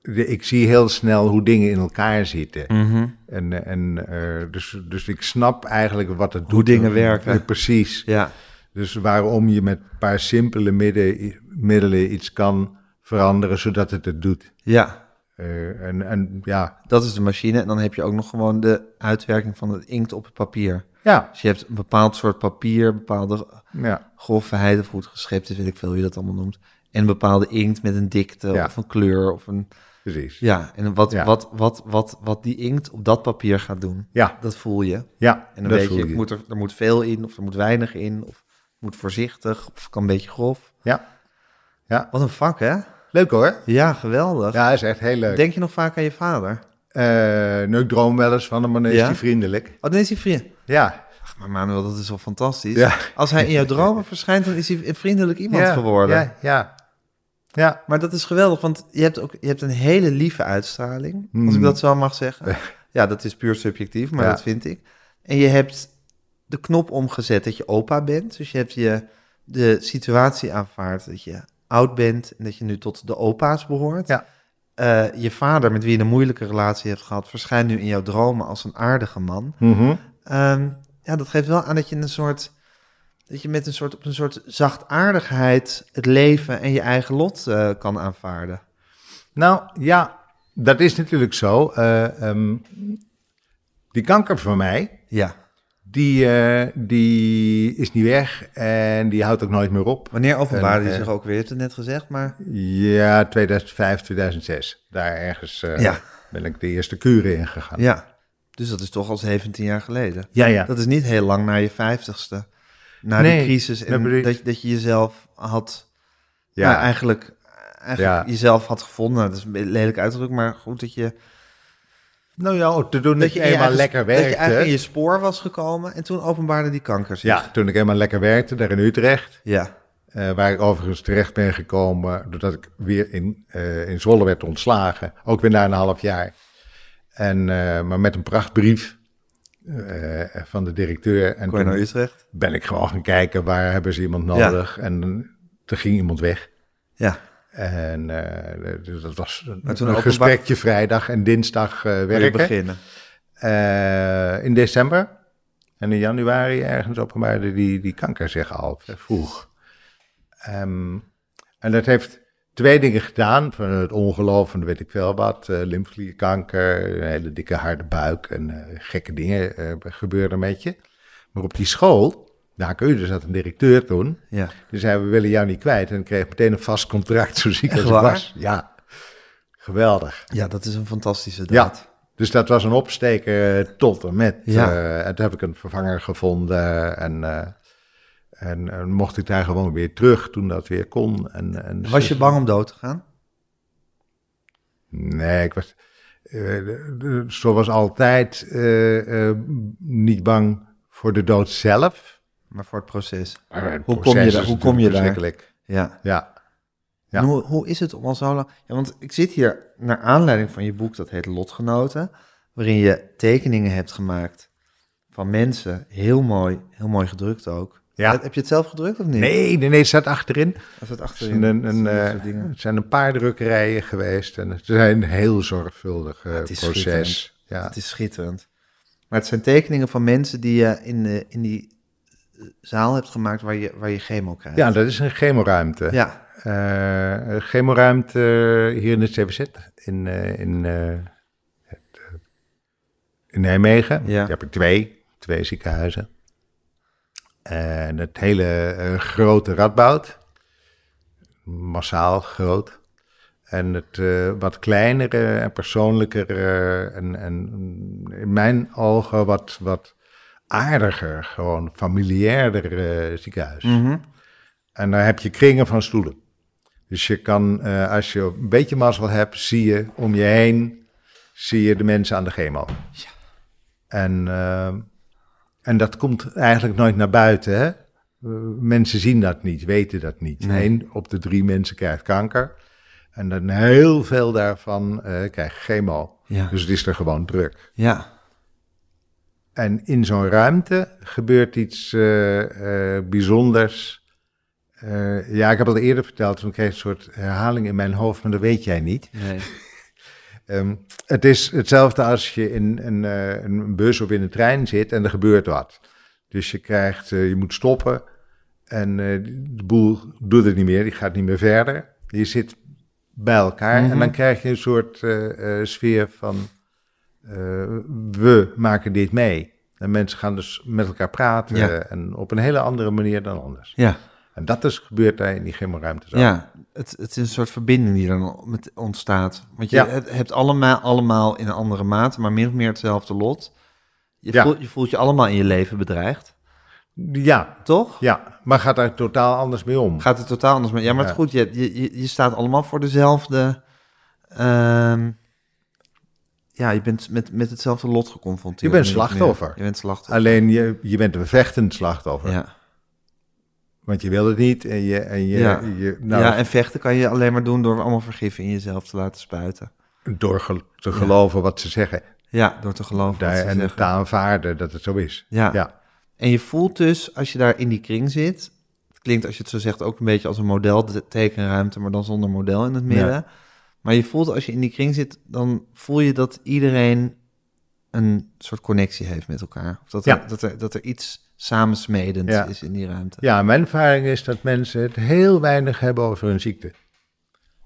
de- ik zie heel snel hoe dingen in elkaar zitten. Mhm. En, eh, en, eh, dus, dus ik snap eigenlijk wat het doet. dingen werken. Ja, precies. Ja, Dus waarom je met een paar simpele midden, middelen iets kan veranderen zodat het het doet. ja, Eh, en, en ja, dat is de machine. En dan heb je ook nog gewoon de uitwerking van het inkt op het papier. ja, Dus je hebt een bepaald soort papier, bepaalde ja. grofheid of hoe het geschept is, weet ik veel hoe je dat allemaal noemt. En bepaalde inkt met een dikte Ja. of een kleur of een... precies. Ja, en wat, Ja. Wat, wat, wat, wat die inkt op dat papier gaat doen, Ja, dat voel je. ja, En dan dat weet voel je, ik Moet er, er moet veel in of er moet weinig in of het moet voorzichtig of het kan een beetje grof. Ja. Ja. Wat een vak, hè? Leuk hoor. Ja, geweldig. Ja, is echt heel leuk. Denk je nog vaak aan je vader? Eh, nou, ik droom wel eens van hem, maar dan is Ja? hij vriendelijk. Oh, dan is hij vriend. Ja, Ach, maar Manuel, dat is wel fantastisch. Ja. Als hij in jouw dromen verschijnt, dan is hij een vriendelijk iemand ja, geworden. Ja, ja. ja. Maar dat is geweldig, want je hebt ook je hebt een hele lieve uitstraling, als ik Mhm. dat zo mag zeggen. Ja, dat is puur subjectief, maar Ja. dat vind ik. En je hebt de knop omgezet dat je opa bent. Dus je hebt je de situatie aanvaard dat je oud bent en dat je nu tot de opa's behoort. Ja. Eh, je vader, met wie je een moeilijke relatie hebt gehad, verschijnt nu in jouw dromen als een aardige man. Mhm. Ehm, ja, dat geeft wel aan dat je een soort. Dat je met een soort, op een soort zachtaardigheid het leven en je eigen lot eh, kan aanvaarden. Nou ja, dat is natuurlijk zo. Eh, ehm, die kanker van mij, Ja. die, eh, die is niet weg en die houdt ook nooit meer op. Wanneer openbaarde En, je eh, zich ook weer? Je hebt het net gezegd, maar... Ja, 2005, 2006. Daar ergens eh, Ja. ben ik de eerste kuren in gegaan. Ja. Dus dat is toch al 17 jaar geleden. ja. ja. Dat is niet heel lang na je vijftigste. Na die Nee, crisis en dat bedoel ik. dat, dat je jezelf had... Ja. Ja. nou, eigenlijk eigenlijk Ja. jezelf had gevonden. Dat is een beetje lelijk uitdruk, maar goed dat je... Nou ja, ook te doen dat, je, in je eenmaal eigen- lekker oh, Dat je eigenlijk in werkte. je spoor was gekomen en toen openbaarde die kanker zich. Ja, toen ik eenmaal lekker werkte, daar in Utrecht. Ja. eh, waar ik overigens terecht ben gekomen doordat ik weer in, eh, in Zwolle werd ontslagen. Ook weer na een half jaar. En, eh, maar met een prachtbrief eh, van de directeur. En Kon je toen naar nou, Utrecht? ben ik gewoon gaan kijken waar hebben ze iemand nodig. En toen ging iemand weg. Ja. En eh, dus dat was een, Maar toen een openbaar- gesprekje vrijdag en dinsdag eh, Wil je werken. beginnen. Eh, in december en in januari ergens openbaarde die, die kanker zich al vroeg. Ehm, en dat heeft twee dingen gedaan. Van het ongeloof en weet ik veel wat. eh lymfeklierkanker, een hele dikke harde buik en eh, gekke dingen eh gebeurden met je. Maar op die school, daar kun je dus had een directeur toen. Ja. Die zei, we willen jou niet kwijt. En ik kreeg meteen een vast contract, zo ziek Echt als ik waar? was. Ja, geweldig. ja, dat is een fantastische Ja, daad. dus dat was een opsteker eh, tot en met. Ja. eh, en toen heb ik een vervanger gevonden en, eh, en, en mocht ik daar gewoon weer terug toen dat weer kon. En, en Was je bang om dood te gaan? Nee, ik was eh, de- de- zoals altijd eh, eh, niet bang voor de dood zelf. Maar voor het proces. Maar het Hoe kom proces je is daar- hoe natuurlijk kom je daar? verschrikkelijk. Ja. Ja, Ja. En hoe, hoe is het om al zo lang... Ja, want ik zit hier naar aanleiding van je boek, dat heet Lotgenoten, waarin je tekeningen hebt gemaakt van mensen. Heel mooi, heel mooi gedrukt ook. Ja. Heb- Heb je het zelf gedrukt of niet? nee, nee, nee, het staat achterin. Of het Het achterin? zijn, een, een, dat eh, soort dingen. het zijn een paar drukkerijen geweest en het zijn een heel zorgvuldig eh, het is proces. Ja. Het is schitterend. Maar het zijn tekeningen van mensen die je in, de, in die eh, zaal hebt gemaakt waar je, waar je chemo krijgt. ja, dat is een chemoruimte. ja. Eh, een chemoruimte hier in het CVZ in, eh, in, eh, het, eh, in Nijmegen. Ja. Daar heb ik twee, twee ziekenhuizen. En het hele eh, grote Radboud, massaal groot. En het eh, wat kleinere en persoonlijkere en, en in mijn ogen wat, wat aardiger, gewoon familiairder eh, ziekenhuis. Mhm. En daar heb je kringen van stoelen. Dus je kan, eh, als je een beetje mazzel hebt, zie je om je heen, zie je de mensen aan de chemo. En, eh, en dat komt eigenlijk nooit naar buiten, hè? Eh, Mensen zien dat niet, weten dat niet. Nee. Eén op de drie mensen krijgt kanker. En dan heel veel daarvan eh krijgt chemo. Ja. Dus het is er gewoon druk. ja. En in zo'n ruimte gebeurt iets eh, eh, bijzonders. Eh, ja, ik heb het al eerder verteld, toen kreeg ik een soort herhaling in mijn hoofd, maar dat weet jij niet. Nee. Ehm, het is hetzelfde als je in een, eh, een bus of in een trein zit en er gebeurt wat. Dus je krijgt, eh, je moet stoppen en eh, de boel doet het niet meer, die gaat niet meer verder. Je zit bij elkaar Mhm. en dan krijg je een soort eh, eh, sfeer van eh, we maken dit mee. En mensen gaan dus met elkaar praten Ja. eh, en op een hele andere manier dan anders. Ja, En dat is gebeurd daar in die gymruimte. zo. ja. Het, het is een soort verbinding die dan met- ontstaat. Want je Ja. hebt- hebt allemaal, allemaal in een andere mate, maar min of meer hetzelfde lot. Je, Ja. voelt, je voelt je allemaal in je leven bedreigd, ja, toch? ja. maar gaat daar totaal anders mee om. Gaat het totaal anders mee. Ja, maar het Ja. goed, je, je, je- je staat allemaal voor dezelfde... ehm, ja, je bent met, met hetzelfde lot geconfronteerd. Je bent min of meer. slachtoffer. Je bent slachtoffer. Alleen je, je bent een vechtend slachtoffer. Ja. Want je wil het niet en je... En je, Ja. je nou, ja, en vechten kan je alleen maar doen door allemaal vergif in jezelf te laten spuiten. door ge- te geloven wat ze zeggen. Ja, door te geloven Daar, wat ze en zeggen. te aanvaarden dat het zo is. Ja. Ja. En je voelt dus, als je daar in die kring zit... Het klinkt, als je het zo zegt, ook een beetje als een model, de tekenruimte... maar dan zonder model in het midden. Maar je voelt, als je in die kring zit, dan voel je dat iedereen... een soort connectie heeft met elkaar. Of dat, Ja. er, dat, er, dat er iets samensmedend Ja. is in die ruimte. ja, mijn ervaring is dat mensen het heel weinig hebben over hun ziekte.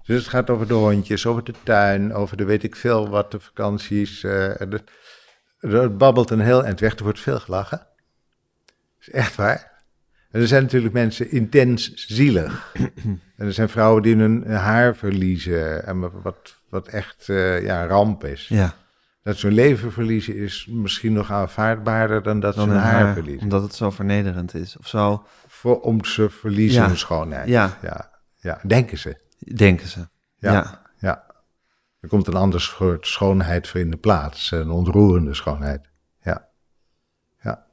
Dus het gaat over de hondjes, over de tuin, over de weet ik veel wat, de vakanties. eh, en het- het babbelt een heel eind weg, er wordt veel gelachen. Dat is echt waar. En er zijn natuurlijk mensen intens zielig. en er zijn vrouwen die hun haar verliezen, en wat, wat echt eh, ja, ramp is. Ja, Dat zo'n leven verliezen is misschien nog aanvaardbaarder dan dat ze dan hun een haar, haar, verliezen. omdat het zo vernederend is. Of zo Voor, om ze verliezen Ja. hun schoonheid. Ja. ja. Ja, denken ze. denken ze. Ja. ja. Ja. Er komt een ander soort schoonheid voor in de plaats. Een ontroerende schoonheid. Ja. Ja.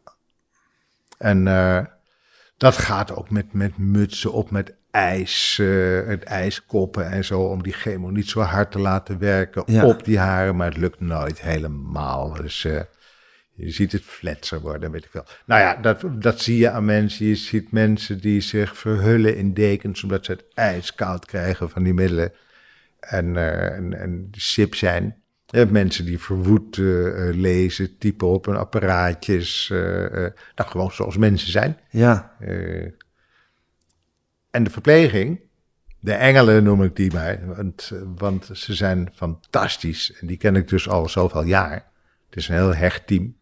En eh, dat gaat ook met, met mutsen op, met ijs, eh, het ijskoppen en zo. Om die chemo niet zo hard te laten werken Ja. op die haren. Maar het lukt nooit helemaal. Dus eh, je ziet het fletser worden, weet ik wel. Nou ja, dat, dat zie je aan mensen. Je ziet mensen die zich verhullen in dekens... omdat ze het ijskoud krijgen van die middelen en, eh, en, en sip zijn. Je hebt mensen die verwoed eh, eh, lezen, typen op hun apparaatjes. eh, eh, nou, gewoon zoals mensen zijn. Ja, Eh, en de verpleging, de engelen noem ik die maar, want, want ze zijn fantastisch. En die ken ik dus al zoveel jaar. Het is een heel hecht team.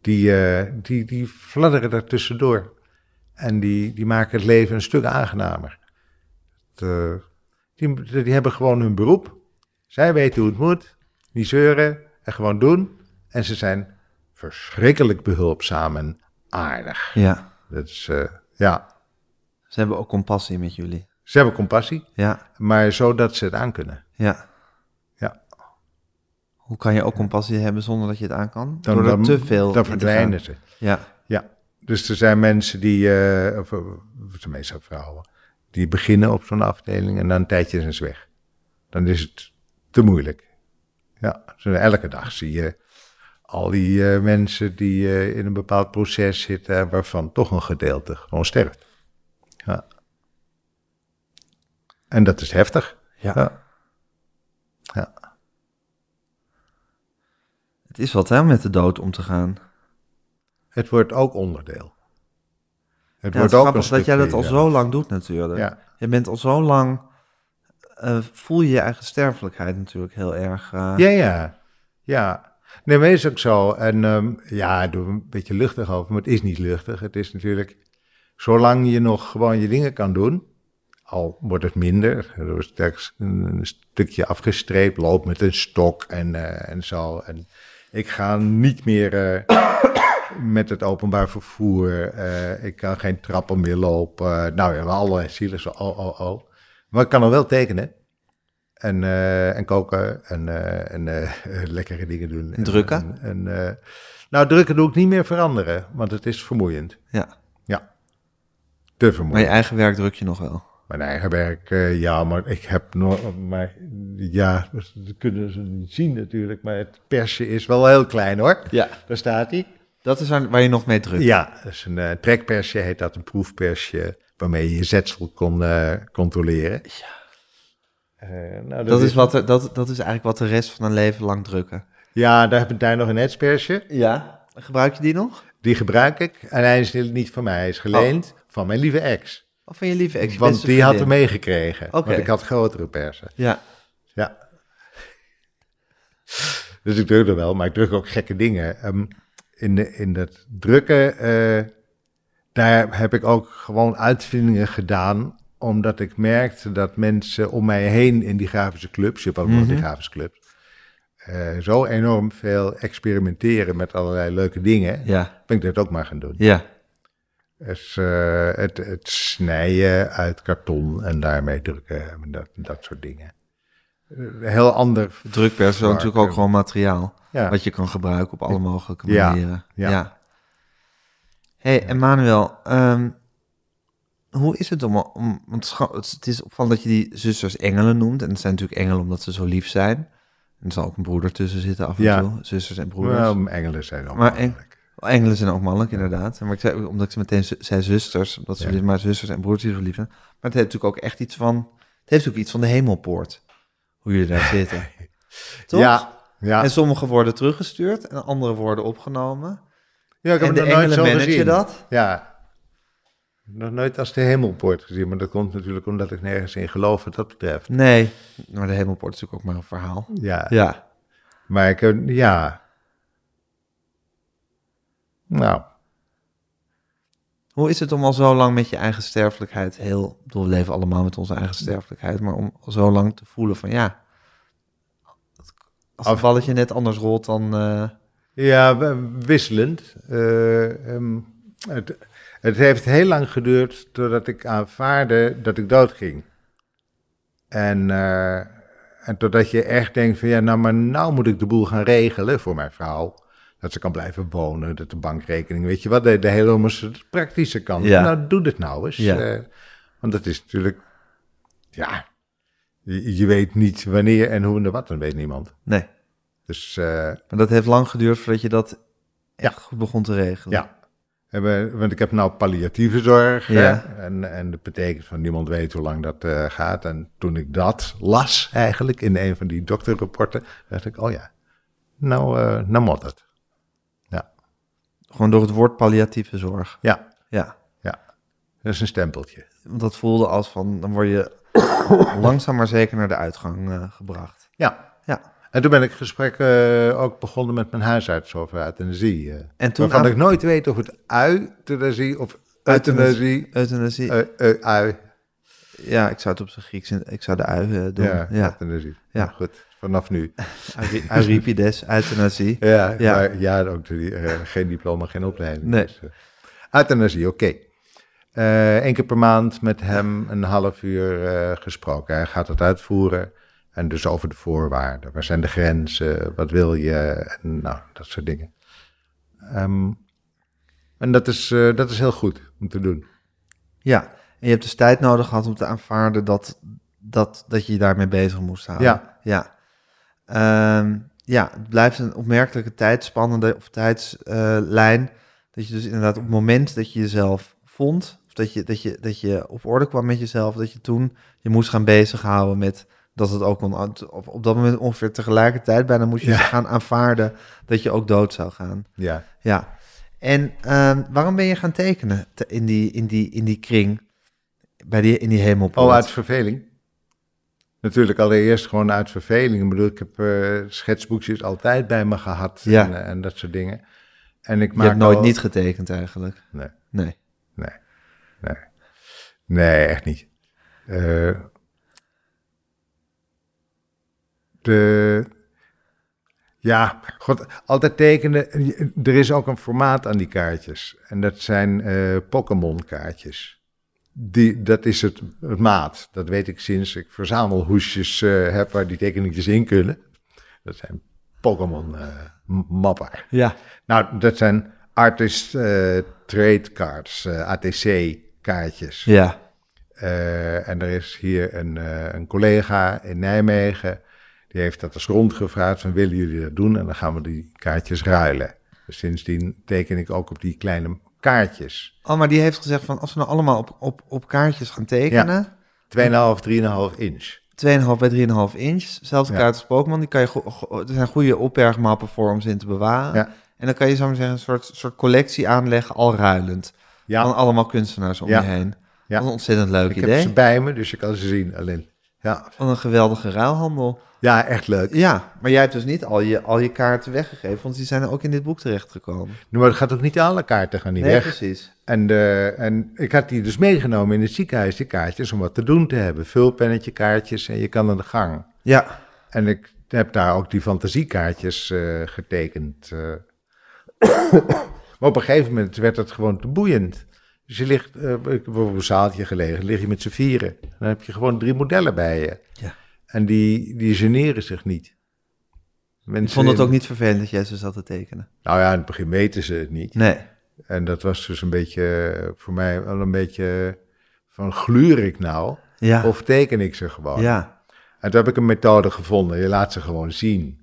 Die, eh, die, die fladderen er tussendoor. En die, die maken het leven een stuk aangenamer. Het, eh, die, die hebben gewoon hun beroep. Zij weten hoe het moet. Niet zeuren en gewoon doen. En ze zijn verschrikkelijk behulpzaam en aardig. ja. Dat is, eh, ja, Ze hebben ook compassie met jullie. ze hebben compassie, Ja, maar zodat ze het aankunnen. ja. Ja. Hoe kan je ook compassie hebben zonder dat je het aan kan? Dan, Door er dan- te veel in Dan te verdwijnen gaan. ze. Ja, Ja. Dus er zijn mensen die, eh of, eh, tenminste vrouwen, die beginnen op zo'n afdeling en dan een tijdje zijn ze weg. Dan is het te moeilijk. Ja, zo elke dag zie je al die eh, mensen die eh, in een bepaald proces zitten, eh, waarvan toch een gedeelte gewoon sterft. Ja. En dat is heftig. Ja. ja. Ja. het is wat hè, om met de dood om te gaan. Het wordt ook onderdeel. Het Ja, het wordt is ook een grappig dat jij dat stukje, al ja. zo lang doet natuurlijk. Ja. Je bent al zo lang, eh, voel je je eigen sterfelijkheid natuurlijk heel erg. eh, Ja, ja. Ja. Nee, maar is ook zo. En ehm, ja, ik doe er een beetje luchtig over, maar het is niet luchtig. Het is natuurlijk, zolang je nog gewoon je dingen kan doen, al wordt het minder, er wordt sterk een stukje afgestreept, loop met een stok en, eh, en zo. En ik ga niet meer eh, met het openbaar vervoer, eh, ik kan geen trappen meer lopen. Nou ja, allerlei zielige, oh, oh, oh. Maar ik kan er wel tekenen. En, eh, en koken en, eh, en eh, lekkere dingen doen. En drukken? En, en, eh, nou, drukken doe ik niet meer veranderen, want het is vermoeiend. ja. Ja, te vermoeiend. Maar je eigen werk druk je nog wel. Mijn eigen werk, eh, ja, maar ik heb nog. Maar, ja, dat kunnen ze niet zien natuurlijk, maar het persje is wel heel klein hoor. Ja. Daar staat hij. Dat is waar, waar je nog mee drukt. Ja, dat is een eh, trekpersje, heet dat, een proefpersje, waarmee je je zetsel kon eh, controleren. Ja. Eh, nou, Dat is, wat er, dat, dat is eigenlijk wat de rest van een leven lang drukken. Ja, daar heb ik daar nog een hetspersje. Ja. Gebruik je die nog? Die gebruik ik. En hij is niet van mij. Hij is geleend van mijn lieve ex. Of van je lieve ex? je Want beste die had Oh. vriendin? hem meegekregen. Oké. Want ik had grotere persen. Ja. Ja. Dus ik druk er wel, maar ik druk ook gekke dingen. Ehm, in, de, in dat drukken, eh, daar heb ik ook gewoon uitvindingen gedaan. Omdat ik merkte dat mensen om mij heen in die grafische clubs, je hebt ook nog die grafische clubs, eh, zo enorm veel experimenteren met allerlei leuke dingen. Ja. Ben ik dat ook maar gaan doen. Ja. Dus, eh, het, het snijden uit karton en daarmee drukken en dat, dat soort dingen. Eh, Heel ander. De drukpers is natuurlijk ook Varken. gewoon materiaal. Ja. Wat je kan gebruiken op alle mogelijke Ja, manieren. ja. hey, Emmanuel. ehm, hoe is het om... om want scha- het het is opvallend dat je die zusters engelen noemt. En het zijn natuurlijk engelen omdat ze zo lief zijn. En er zal ook een broeder tussen zitten af en Ja. toe. Zusters en broeders. Nou, engelen zijn ook Maar eng- mannelijk. Engelen zijn ook mannelijk, inderdaad. Maar ik zei, omdat ik ze meteen zu- zei zusters, omdat ze dus Ja. maar zusters en broertjes zo lief zijn. Maar het heeft natuurlijk ook echt iets van, het heeft ook iets van de hemelpoort. Hoe jullie daar zitten. Toch? Ja, ja. En sommige worden teruggestuurd en andere worden opgenomen. ja ik en heb de het nog nooit engelen zo managen gezien. dat? Ja. Nog nooit als de hemelpoort gezien, maar dat komt natuurlijk omdat ik nergens in geloof wat dat betreft. Nee, maar de hemelpoort is natuurlijk ook maar een verhaal. Ja, Ja, maar ik heb, ja. Nou, hoe is het om al zo lang met je eigen sterfelijkheid heel... ik bedoel, we leven allemaal met onze eigen sterfelijkheid, maar om al zo lang te voelen van ja... Als het Af- balletje net anders rolt dan... eh, Ja, w- wisselend. Eh, ehm, het, het heeft heel lang geduurd doordat ik aanvaarde dat ik doodging. En, eh, en totdat je echt denkt van ja, nou maar nou moet ik de boel gaan regelen voor mijn vrouw. Dat ze kan blijven wonen, dat de bankrekening, weet je wat, de, de hele om- de praktische kant. Ja. Nou, doe dit nou eens. Ja. Eh, want dat is natuurlijk, ja, je, je weet niet wanneer en hoe en de wat, dan weet niemand. nee. Dus eh, Maar dat heeft lang geduurd voordat je dat echt Ja. goed begon te regelen. Ja. En we- Want ik heb nou palliatieve zorg. hè. Ja. En, en dat betekent van niemand weet hoe lang dat eh, gaat. En toen ik dat las eigenlijk in een van die dokterrapporten, dacht ik, oh ja, nou, eh nou moet het. Ja, Gewoon door het woord palliatieve zorg. ja, Ja. ja. Dat is een stempeltje. Want dat voelde als van, dan word je langzaam maar zeker naar de uitgang eh, gebracht. Ja. Ja. En toen ben ik gesprek eh, ook begonnen met mijn huisarts over euthanasie. eh En toen waarvan aan- ik nooit weet of het euthanasie of euthanasie, Euthanasie. eh eh, ui, ja, ik zou het op zijn Grieks, in- ik zou de ui eh, doen. ja, Ja. euthanasie. Nou, Ja. Goed, vanaf nu. Euri- Euripides, euthanasie. Ja, Ja. ja. Maar, ja ook die, eh, geen diploma, geen opleiding. Nee. Dus, eh, euthanasie, oké. Eén keer per maand met hem een half uur eh, gesproken. Hij gaat het uitvoeren. En dus over de voorwaarden. Waar zijn de grenzen? Wat wil je? En, nou, dat soort dingen. Ehm, en dat is, eh, dat is heel goed om te doen. Ja. En je hebt dus tijd nodig gehad om te aanvaarden dat, dat, dat je je daarmee bezig moest houden. Ja. Ja. Ehm, ja, het blijft een opmerkelijke tijdspannende of tijdslijn. dat je dus inderdaad op het moment dat je jezelf vond, of dat je, dat, je, dat je op orde kwam met jezelf, dat je toen je moest gaan bezighouden met dat het ook kon. Op, op dat moment ongeveer tegelijkertijd bijna moest je Ja. gaan aanvaarden dat je ook dood zou gaan. Ja. Ja. En ehm, waarom ben je gaan tekenen te- in die, in die, in die kring? Bij die, in die hemelpoort? Oh, uit verveling? Natuurlijk allereerst gewoon uit verveling. Ik bedoel, ik heb eh, schetsboekjes altijd bij me gehad Ja. en, eh, en dat soort dingen. En ik je maak hebt nooit al- niet getekend eigenlijk. Nee, Nee. nee, nee. Nee, echt niet. Eh, de... Ja, god, altijd tekenen. Er is ook een formaat aan die kaartjes. En dat zijn eh Pokémon kaartjes. Die, dat is het, het maat. Dat weet ik sinds ik verzamelhoesjes eh, heb waar die tekeningetjes in kunnen. Dat zijn eh, Pokémon-mappen. Ja. nou, dat zijn artist eh, trade cards, eh, ATC-kaartjes. Ja. Eh, en er is hier een, eh, een collega in Nijmegen. Die heeft dat eens rondgevraagd van willen jullie dat doen? En dan gaan we die kaartjes ruilen. Dus sindsdien teken ik ook op die kleine kaartjes. Oh, maar die heeft gezegd van als we nou allemaal op, op, op kaartjes gaan tekenen. 2,5, 3,5 inch. 2,5 bij 3,5 inch. Zelfs de Ja. kaart als Pokémon, die kan je go- go- er zijn goede opbergmappen voor om ze in te bewaren. Ja. En dan kan je zo maar zeggen een soort, soort collectie aanleggen, al ruilend. Ja. Van allemaal kunstenaars om Ja. je heen. Ja. Wat een ontzettend leuk Ik heb idee. ze bij me, dus je kan ze zien alleen. Ja, Wat een geweldige ruilhandel. ja echt leuk. Ja, maar jij hebt dus niet al je, al je kaarten weggegeven, want die zijn ook in dit boek terechtgekomen. Maar het gaat ook niet alle kaarten gaan niet Nee, weg. precies. En, eh, en ik had die dus meegenomen in het ziekenhuis, die kaartjes, om wat te doen te hebben. Vulpennetje, kaartjes en je kan aan de gang. Ja, En ik heb daar ook die fantasiekaartjes eh, getekend. eh. maar op een gegeven moment werd het gewoon te boeiend. Dus je ligt, eh, ik heb op een zaaltje gelegen, lig je met z'n vieren. Dan heb je gewoon drie modellen bij je. Ja. En die, die generen zich niet. ik Mensen vond het in- ook niet vervelend dat jij ze zat te tekenen. Nou ja, in het begin weten ze het niet. Nee. En dat was dus een beetje, eh, voor mij wel een beetje eh, van gluur ik nou? Ja. Of teken ik ze gewoon? ja. En toen heb ik een methode gevonden. Je laat ze gewoon zien.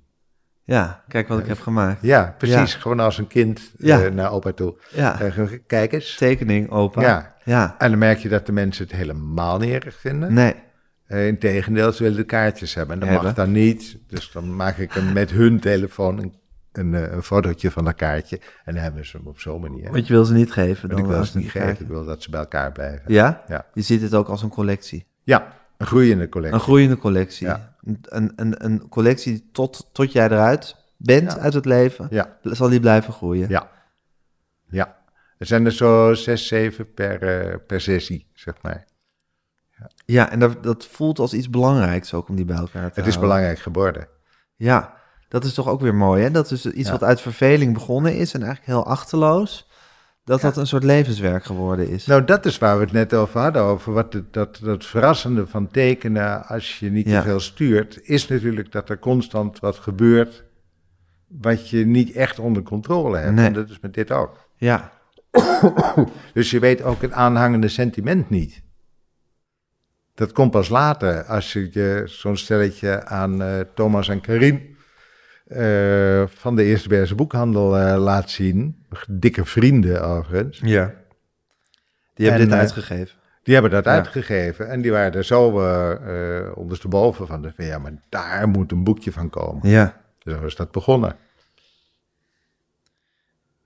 Ja, kijk wat ik heb gemaakt. Ja, precies. Gewoon als een kind eh, Ja. naar opa toe. Ja, Eh, kijk eens. tekening, opa. Ja. Ja. En dan merk je dat de mensen het helemaal niet erg vinden. Nee. Eh, Integendeel, ze willen de kaartjes hebben. En dat Hebben. mag dan niet. Dus dan maak ik hem met hun telefoon een, een, eh, een fotootje van dat kaartje. En dan hebben ze hem op zo'n manier. Want je wil ze niet geven. Dan Want ik wil als ze niet krijgen. geven. Ik wil dat ze bij elkaar blijven. Ja? Ja. Je ziet het ook als een collectie. Ja, een groeiende collectie. Een groeiende collectie. Ja. Een, een, een collectie tot, tot jij eruit bent Ja. uit het leven. Ja, Zal die blijven groeien. ja. Ja. Er zijn er zo zes, zeven per, eh, per sessie, zeg maar. Ja, en dat, dat voelt als iets belangrijks ook om die bij elkaar te houden. Het is belangrijk geworden. Ja, dat is toch ook weer mooi, hè? Dat is dus iets Ja. wat uit verveling begonnen is en eigenlijk heel achterloos, dat dat een soort levenswerk geworden is. Nou, dat is waar we het net over hadden, over wat het, dat, dat verrassende van tekenen als je niet Ja. te veel stuurt, is natuurlijk dat er constant wat gebeurt wat je niet echt onder controle hebt. Nee. En dat is met dit ook. Ja, Dus je weet ook het aanhangende sentiment niet. Dat komt pas later, als je je zo'n stelletje aan eh, Thomas en Karin eh, van de Eerste Berse Boekhandel eh, laat zien. Dikke vrienden overigens. ja. Die hebben En, dit eh, uitgegeven. Die hebben dat Ja. uitgegeven en die waren er zo eh eh ondersteboven van. van, Ja, maar daar moet een boekje van komen. Ja. Zo is dat begonnen.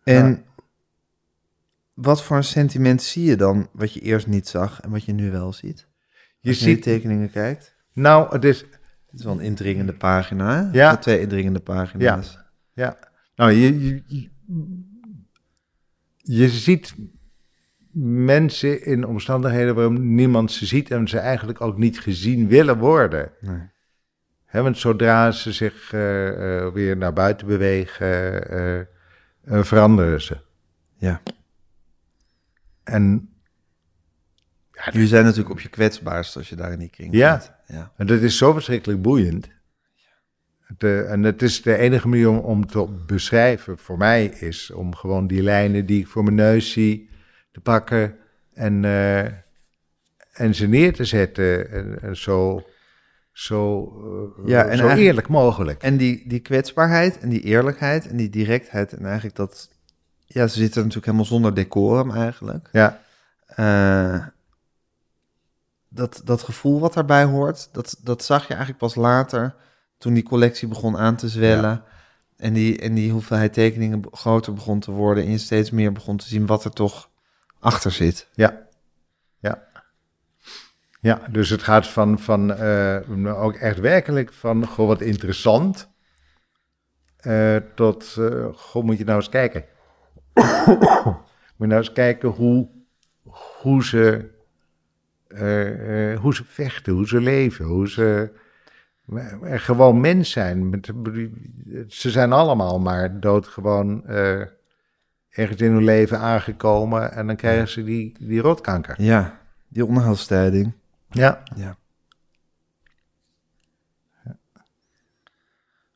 En Ja. wat voor een sentiment zie je dan wat je eerst niet zag en wat je nu wel ziet? Je Als je naar die ziet, tekeningen kijkt. nou, het is, Dit is wel een indringende pagina. hè? Ja. Of Twee indringende pagina's. ja, nou, je, je, je, je ziet mensen in omstandigheden waarom niemand ze ziet en ze eigenlijk ook niet gezien willen worden. Nee. Hè, want zodra ze zich eh, eh, weer naar buiten bewegen, eh, eh, eh, veranderen ze. Ja. En Jullie zijn natuurlijk op je kwetsbaarst als je daar in die kring Ja. gaat. Ja. En dat is zo verschrikkelijk boeiend. Het, eh, en het is de enige manier om, om te beschrijven voor mij is om gewoon die lijnen die ik voor mijn neus zie te pakken en, eh, en ze neer te zetten. En, en zo, zo, eh, Ja, en zo eigenlijk- eerlijk mogelijk. En die, die kwetsbaarheid en die eerlijkheid en die directheid en eigenlijk dat... Ja, ze zitten natuurlijk helemaal zonder decorum eigenlijk. Ja, Eh, dat, dat gevoel wat daarbij hoort, dat, dat zag je eigenlijk pas later toen die collectie begon aan te zwellen. En, die, en die hoeveelheid tekeningen be- groter begon te worden en je steeds meer begon te zien wat er toch achter zit. ja, ja. Ja, dus het gaat van, van eh, ook echt werkelijk van, goh, wat interessant, eh, tot, eh, goh, moet je nou eens kijken. Moet je nou eens kijken hoe, hoe, ze, eh, eh, hoe ze vechten, hoe ze leven, hoe ze maar- maar gewoon mens zijn. Met- Ze zijn allemaal maar doodgewoon eh, ergens in hun leven aangekomen en dan krijgen ze die, die rotkanker. Ja, die onderhoudstijding. Ja, Ja.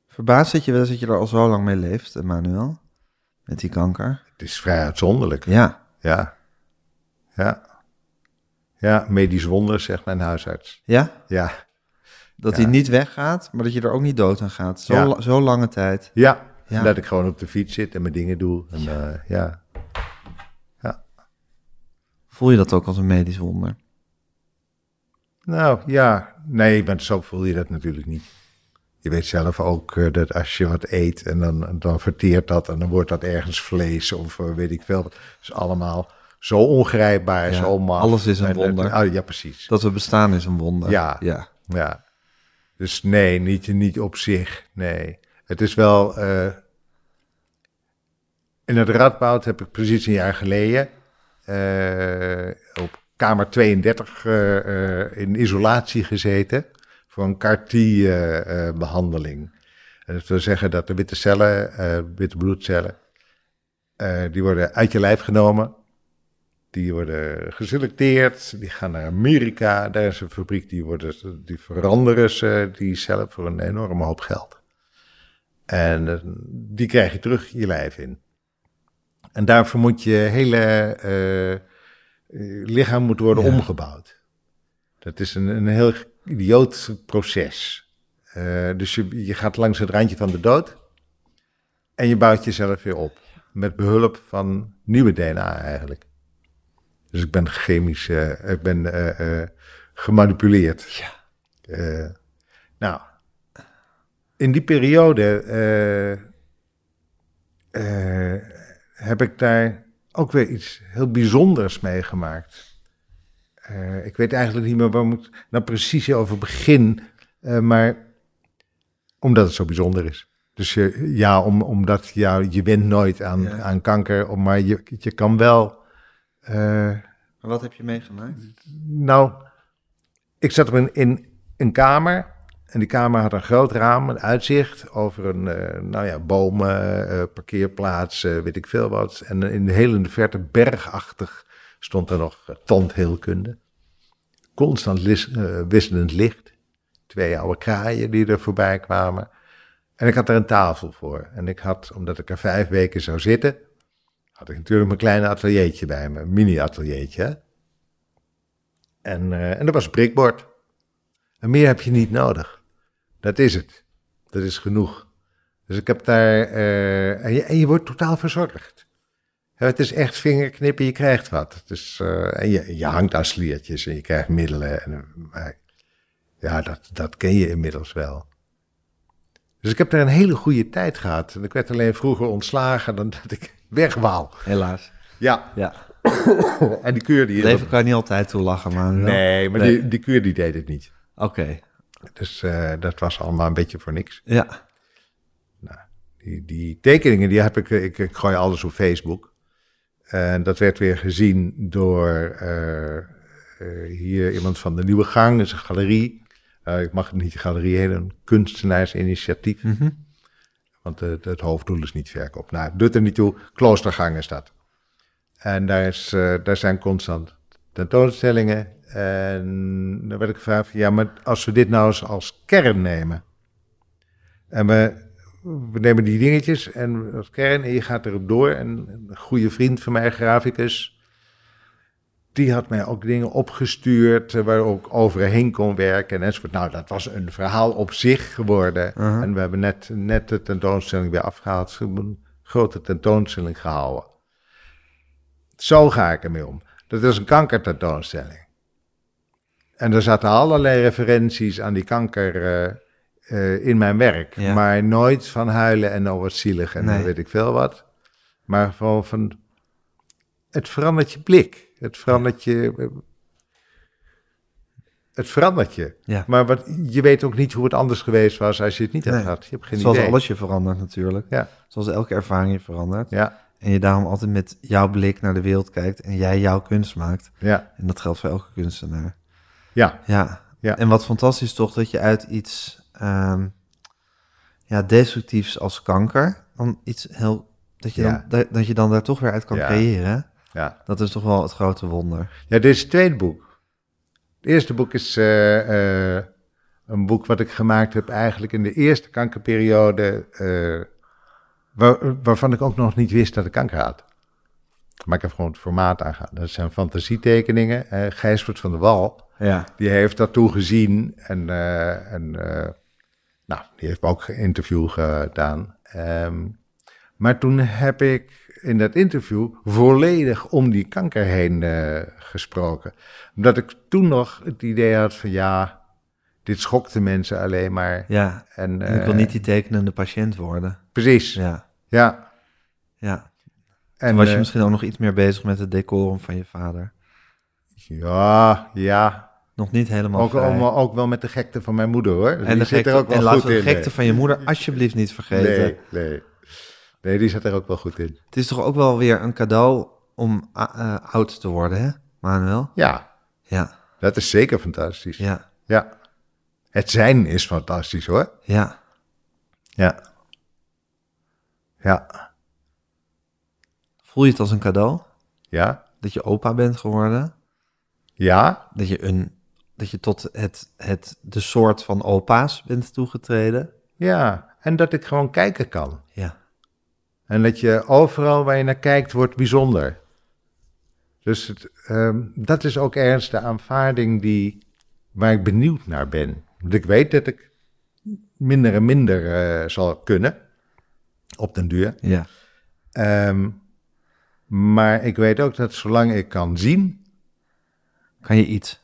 Verbaasd zit je wel eens dat je er al zo lang mee leeft, Manuel? Met die kanker? het is vrij uitzonderlijk. Ja, Ja. Ja. Ja, medisch wonder, zegt mijn huisarts. ja? Ja. Dat Ja. die niet weggaat, maar dat je er ook niet dood aan gaat. Zo, Ja. la- zo lange tijd. Ja. Ja. Dat ik gewoon op de fiets zit en mijn dingen doe. En, ja. ja. Voel je dat ook als een medisch wonder? Nou ja, nee, maar zo voel je dat natuurlijk niet. Je weet zelf ook eh, dat als je wat eet en dan, dan verteert dat en dan wordt dat ergens vlees of eh, weet ik veel. Het is allemaal zo ongrijpbaar, Ja, zo maf. alles is een En het- wonder. ah, ja, precies. Dat we bestaan is een wonder. Ja. ja. Ja. Dus nee, niet, niet op zich. Nee. Het is wel. eh, in het Radboud heb ik precies een jaar geleden. eh, op kamer 32 eh, eh, in isolatie gezeten. voor een eh, CAR-T-behandeling. dat wil zeggen dat de witte cellen, eh, witte bloedcellen. eh, die worden uit je lijf genomen. Die worden geselecteerd, die gaan naar Amerika. Daar is een fabriek, die, worden, die veranderen ze, die cellen voor een enorme hoop geld. En eh, die krijg je terug je lijf in. En daarvoor moet je hele eh, eh, lichaam moet worden Ja. omgebouwd. Dat is een, een heel idioot proces. Eh, dus je, je gaat langs het randje van de dood en je bouwt jezelf weer op. Met behulp van nieuwe DNA eigenlijk. Dus ik ben chemisch, eh, ik ben eh, eh, gemanipuleerd. Ja. Eh, nou, in die periode eh, eh, heb ik daar ook weer iets heel bijzonders meegemaakt. Eh, ik weet eigenlijk niet meer waar moet ik nou precies over begin, eh, maar omdat het zo bijzonder is. Dus je, ja, om, omdat jou, je wint nooit aan, Ja. aan kanker, om- maar je, je kan wel eh, Maar wat heb je meegemaakt? nou, ik zat op een, in een kamer. En die kamer had een groot raam, een uitzicht over een, eh, nou ja, bomen, eh parkeerplaats, eh, weet ik veel wat. En in de hele verte, bergachtig, stond er nog eh, tandheelkunde. Constant lis- eh, wisselend licht. Twee oude kraaien die er voorbij kwamen. En ik had er een tafel voor. En ik had, omdat ik er vijf weken zou zitten, had ik natuurlijk mijn kleine ateliertje bij me. Een mini-ateliertje, hè. En, eh, en dat was een prikbord. En meer heb je niet nodig. Dat is het. Dat is genoeg. Dus ik heb daar. eh, en, je, en je wordt totaal verzorgd. Hè, Het is echt vingerknippen, je krijgt wat. Het is, eh, en je, je hangt aan sliertjes en je krijgt middelen. En, eh, maar ja, dat, dat ken je inmiddels wel. Dus ik heb daar een hele goede tijd gehad. En ik werd alleen vroeger ontslagen dan dat ik weg wou. Helaas. Ja, Ja. en die keur die... Leven kan je niet altijd toe lachen, maar. wel. Nee, maar Nee. Die, die keur die deed het niet. Oké. Dus eh, dat was allemaal een beetje voor niks. Ja. Die, die tekeningen, die heb ik, ik, ik gooi alles op Facebook. En dat werd weer gezien door eh, eh, hier iemand van de Nieuwe Gang, dat is een galerie. Eh, ik mag het niet de galerie heen, een kunstenaarsinitiatief. Mhm. Want eh, het hoofddoel is niet verkoop. Nou, het doet er niet toe. Kloostergang is dat. En daar, is, eh, daar zijn constant tentoonstellingen. En dan werd ik gevraagd, van, ja, maar als we dit nou eens als kern nemen. En we, we nemen die dingetjes en als kern en je gaat erop door. En een goede vriend van mij, graficus, die had mij ook dingen opgestuurd eh, waar ik overheen kon werken enzovoort. Nou, dat was een verhaal op zich geworden. Aha. En we hebben net, net de tentoonstelling weer afgehaald. Ze hebben een grote tentoonstelling gehouden. Zo ga ik ermee om. Dat is een kankertentoonstelling. En er zaten allerlei referenties aan die kanker eh, eh, in mijn werk. Ja. Maar nooit van huilen en nou wat zielig en Nee. dan weet ik veel wat. Maar gewoon van... Het verandert je blik. Het verandert je... Het verandert je. Ja. Maar wat, je weet ook niet hoe het anders geweest was als je het niet had Nee. gehad. Je hebt geen Zoals idee. alles je verandert natuurlijk. Ja. Zoals elke ervaring je verandert. Ja, En je daarom altijd met jouw blik naar de wereld kijkt en jij jouw kunst maakt. ja, En dat geldt voor elke kunstenaar. ja. Ja. Ja. En wat fantastisch toch dat je uit iets ehm, ja, destructiefs als kanker dan iets heel dat je, Ja. dan, dat, dat je dan daar toch weer uit kan Ja. creëren. ja. Dat is toch wel het grote wonder. Ja, dit is het tweede boek. Het eerste boek is eh, eh, een boek wat ik gemaakt heb eigenlijk in de eerste kankerperiode, eh, waar- waarvan ik ook nog niet wist dat ik kanker had. Maar ik heb gewoon het formaat aangegaan. Dat zijn fantasietekeningen. Eh Gijsbert van der Wal, Ja. die heeft dat toen gezien en, eh, en eh, nou, die heeft me ook geïnterview gedaan. Ehm, Maar toen heb ik in dat interview volledig om die kanker heen eh, gesproken. Omdat ik toen nog het idee had van ja, dit schokte mensen alleen maar. Ja, En, en ik wil eh, niet die tekenende patiënt worden. Precies, ja. Ja, ja. En was je eh, misschien ook nog iets meer bezig met het decorum van je vader? Ja, ja. Nog niet helemaal Ook, vrij. ook, wel- ook wel met de gekte van mijn moeder hoor. en de zit gekte, er ook wel en goed laten we de in, nee. gekte van je moeder alsjeblieft niet vergeten. Nee, nee. Nee, die zit er ook wel goed in. Het is toch ook wel weer een cadeau om a- eh, oud te worden, hè, Manuel? Ja, Ja, dat is zeker fantastisch. Ja. ja, Het zijn is fantastisch hoor. ja. Ja. Ja. Voel je het als een cadeau? Ja. Dat je opa bent geworden? Ja. Dat je, een, dat je tot het, het, de soort van opa's bent toegetreden? Ja. En dat ik gewoon kijken kan. Ja, En dat je overal waar je naar kijkt wordt bijzonder. Dus het, ehm, dat is ook ergens de aanvaarding die, waar ik benieuwd naar ben. Want ik weet dat ik minder en minder eh, zal kunnen op den duur. ja, Ehm, maar ik weet ook dat zolang ik kan zien, kan je iets?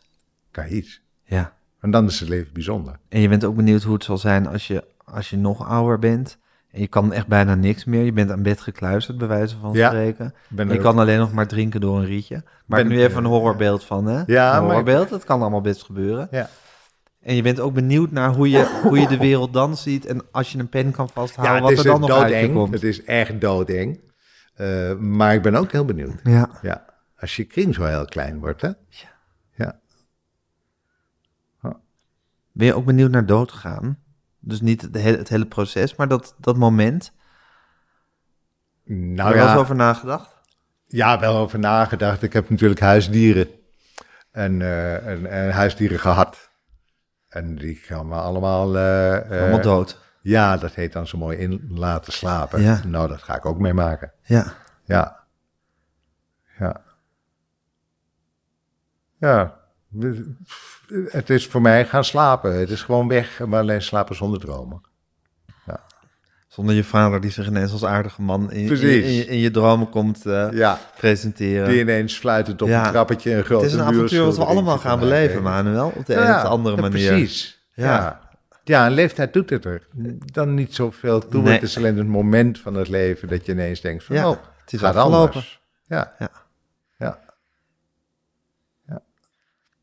kan je iets. Ja. En dan is het leven bijzonder. En je bent ook benieuwd hoe het zal zijn als je, als je nog ouder bent. En je kan echt bijna niks meer. Je bent aan bed gekluisterd, bij wijze van Ja, spreken. ben je er- kan alleen nog maar drinken door een rietje. Maar Ben- nu even een horrorbeeld van, hè? Ja, een maar- horrorbeeld, dat kan allemaal best gebeuren. Ja. En je bent ook benieuwd naar hoe je, hoe je de wereld dan ziet. En als je een pen kan vasthouden, ja, wat het er is dan nog uit je doodeng. komt. Het is echt doodeng. Eh, maar ik ben ook heel benieuwd. Ja, Ja, als je kring zo heel klein wordt, hè? ben je ook benieuwd naar doodgaan? Dus niet het hele, het hele proces, maar dat, dat moment. Nou Daar Oh ja, was over nagedacht. ja, wel over nagedacht. Ik heb natuurlijk huisdieren en, eh, en, en huisdieren gehad. En die gaan we allemaal... eh, eh, Allemaal dood. ja, dat heet dan zo mooi in laten slapen. Ja. Nou, dat ga ik ook meemaken. Ja. Ja. Ja. Ja. Dus, Het is voor mij gaan slapen. Het is gewoon weg, maar alleen slapen zonder dromen. Zonder je vader die zich ineens als aardige man in, in, Precies. in je- in je dromen komt eh, Ja. presenteren. Die ineens fluitend op Ja. een trappetje een Het grote is een avontuur wat we muurschildering allemaal te gaan maken. beleven, Manuel. Op de een Ja, of de andere ja, manier. Precies. Ja. Ja. ja. en leeftijd doet het er dan niet zoveel toe. Nee. Het is alleen het moment van het leven dat je ineens denkt van, Ja, oh, het is gaat afgelopen. anders. Ja, Ja. ja.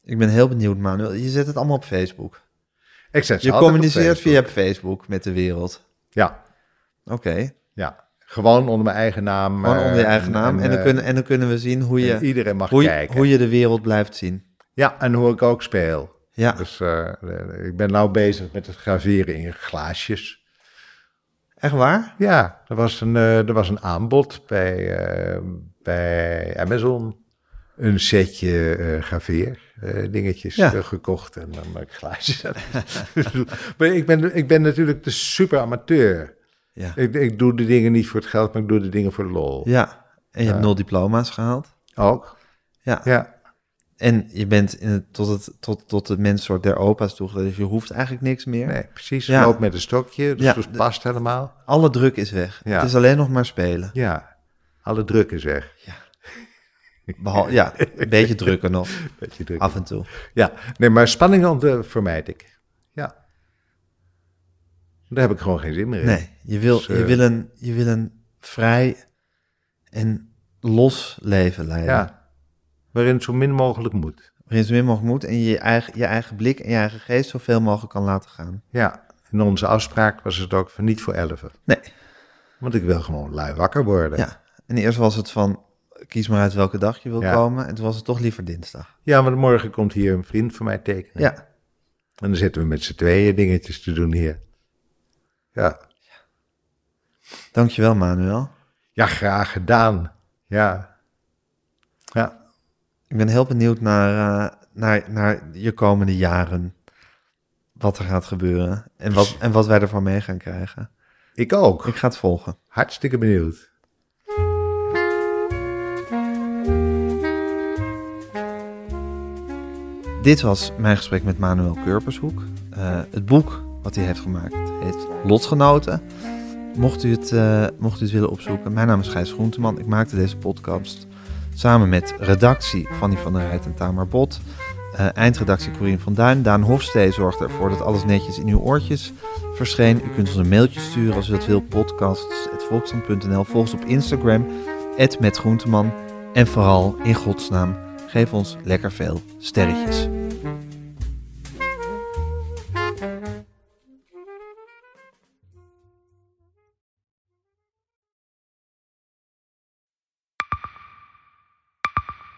Ik ben heel benieuwd, Manuel. Je zet het allemaal op Facebook. Ik zet ze Je altijd op communiceert Facebook. via Facebook met de wereld. Ja, Oké, ja. Gewoon onder mijn eigen naam. gewoon eh, onder je eigen naam. En dan, eh, kunnen, en dan kunnen we zien hoe en je, iedereen mag hoe, je, kijken. hoe je de wereld blijft zien. Ja, en hoe ik ook speel. Ja, Dus eh, ik ben nou bezig met het graveren in glaasjes. echt waar? Ja, er was een, eh, er was een aanbod bij, eh, bij Amazon. Een setje eh graveer eh, dingetjes Ja. eh, gekocht en dan maak ik glaasjes aan. maar ik ben, ik ben natuurlijk de super amateur. Ja. Ik, ik doe de dingen niet voor het geld, maar ik doe de dingen voor de lol. ja. En je hebt nul diploma's gehaald. Ook? Ja. Ja. En je bent in het, tot, het, tot, tot het menssoort der opa's toegelaten. Dus je hoeft eigenlijk niks meer. Nee, precies. Ja. Loop met een stokje, dus Ja. dat past helemaal. Alle druk is weg. Ja. Het is alleen nog maar spelen. Ja, alle druk is weg. Behal- ja, een beetje drukker nog, Beetje druk. af en toe. Ja, nee, maar spanning ont- eh, vermijd ik. Ja. Daar heb ik gewoon geen zin meer in. Nee, je wil, Dus, eh, je wil, een, je wil een vrij en los leven leiden. Ja. Waarin het zo min mogelijk moet. Waarin zo min mogelijk moet en je je eigen, je eigen blik en je eigen geest zoveel mogelijk kan laten gaan. Ja. In onze afspraak was het ook van niet voor elfen. Nee, Want ik wil gewoon lui wakker worden. ja. En eerst was het van, kies maar uit welke dag je wil Ja. komen. En toen was het toch liever dinsdag. Ja, want morgen komt hier een vriend van mij tekenen. Ja, En dan zitten we met z'n tweeën dingetjes te doen hier. Ja. dankjewel Manuel. Ja, graag gedaan. Ja. Ja. Ik ben heel benieuwd naar, eh, naar, naar je komende jaren. Wat er gaat gebeuren en wat, en wat wij ervan mee gaan krijgen. Ik ook. Ik ga het volgen. Hartstikke benieuwd. Dit was mijn gesprek met Manuel Kurpershoek. Eh, het boek wat hij heeft gemaakt heet Lotgenoten. Mocht u, het, eh, mocht u het willen opzoeken, mijn naam is Gijs Groenteman. Ik maakte deze podcast samen met redactie Fanny van der Rijt en Tamar Bot. Eh, eindredactie Corien van Duin. Daan Hofstee zorgt ervoor dat alles netjes in uw oortjes verscheen. U kunt ons een mailtje sturen als u dat wil. Podcasts.volksstand.nl Volg ons op Instagram, @metgroenteman. En vooral, in godsnaam, geef ons lekker veel sterretjes.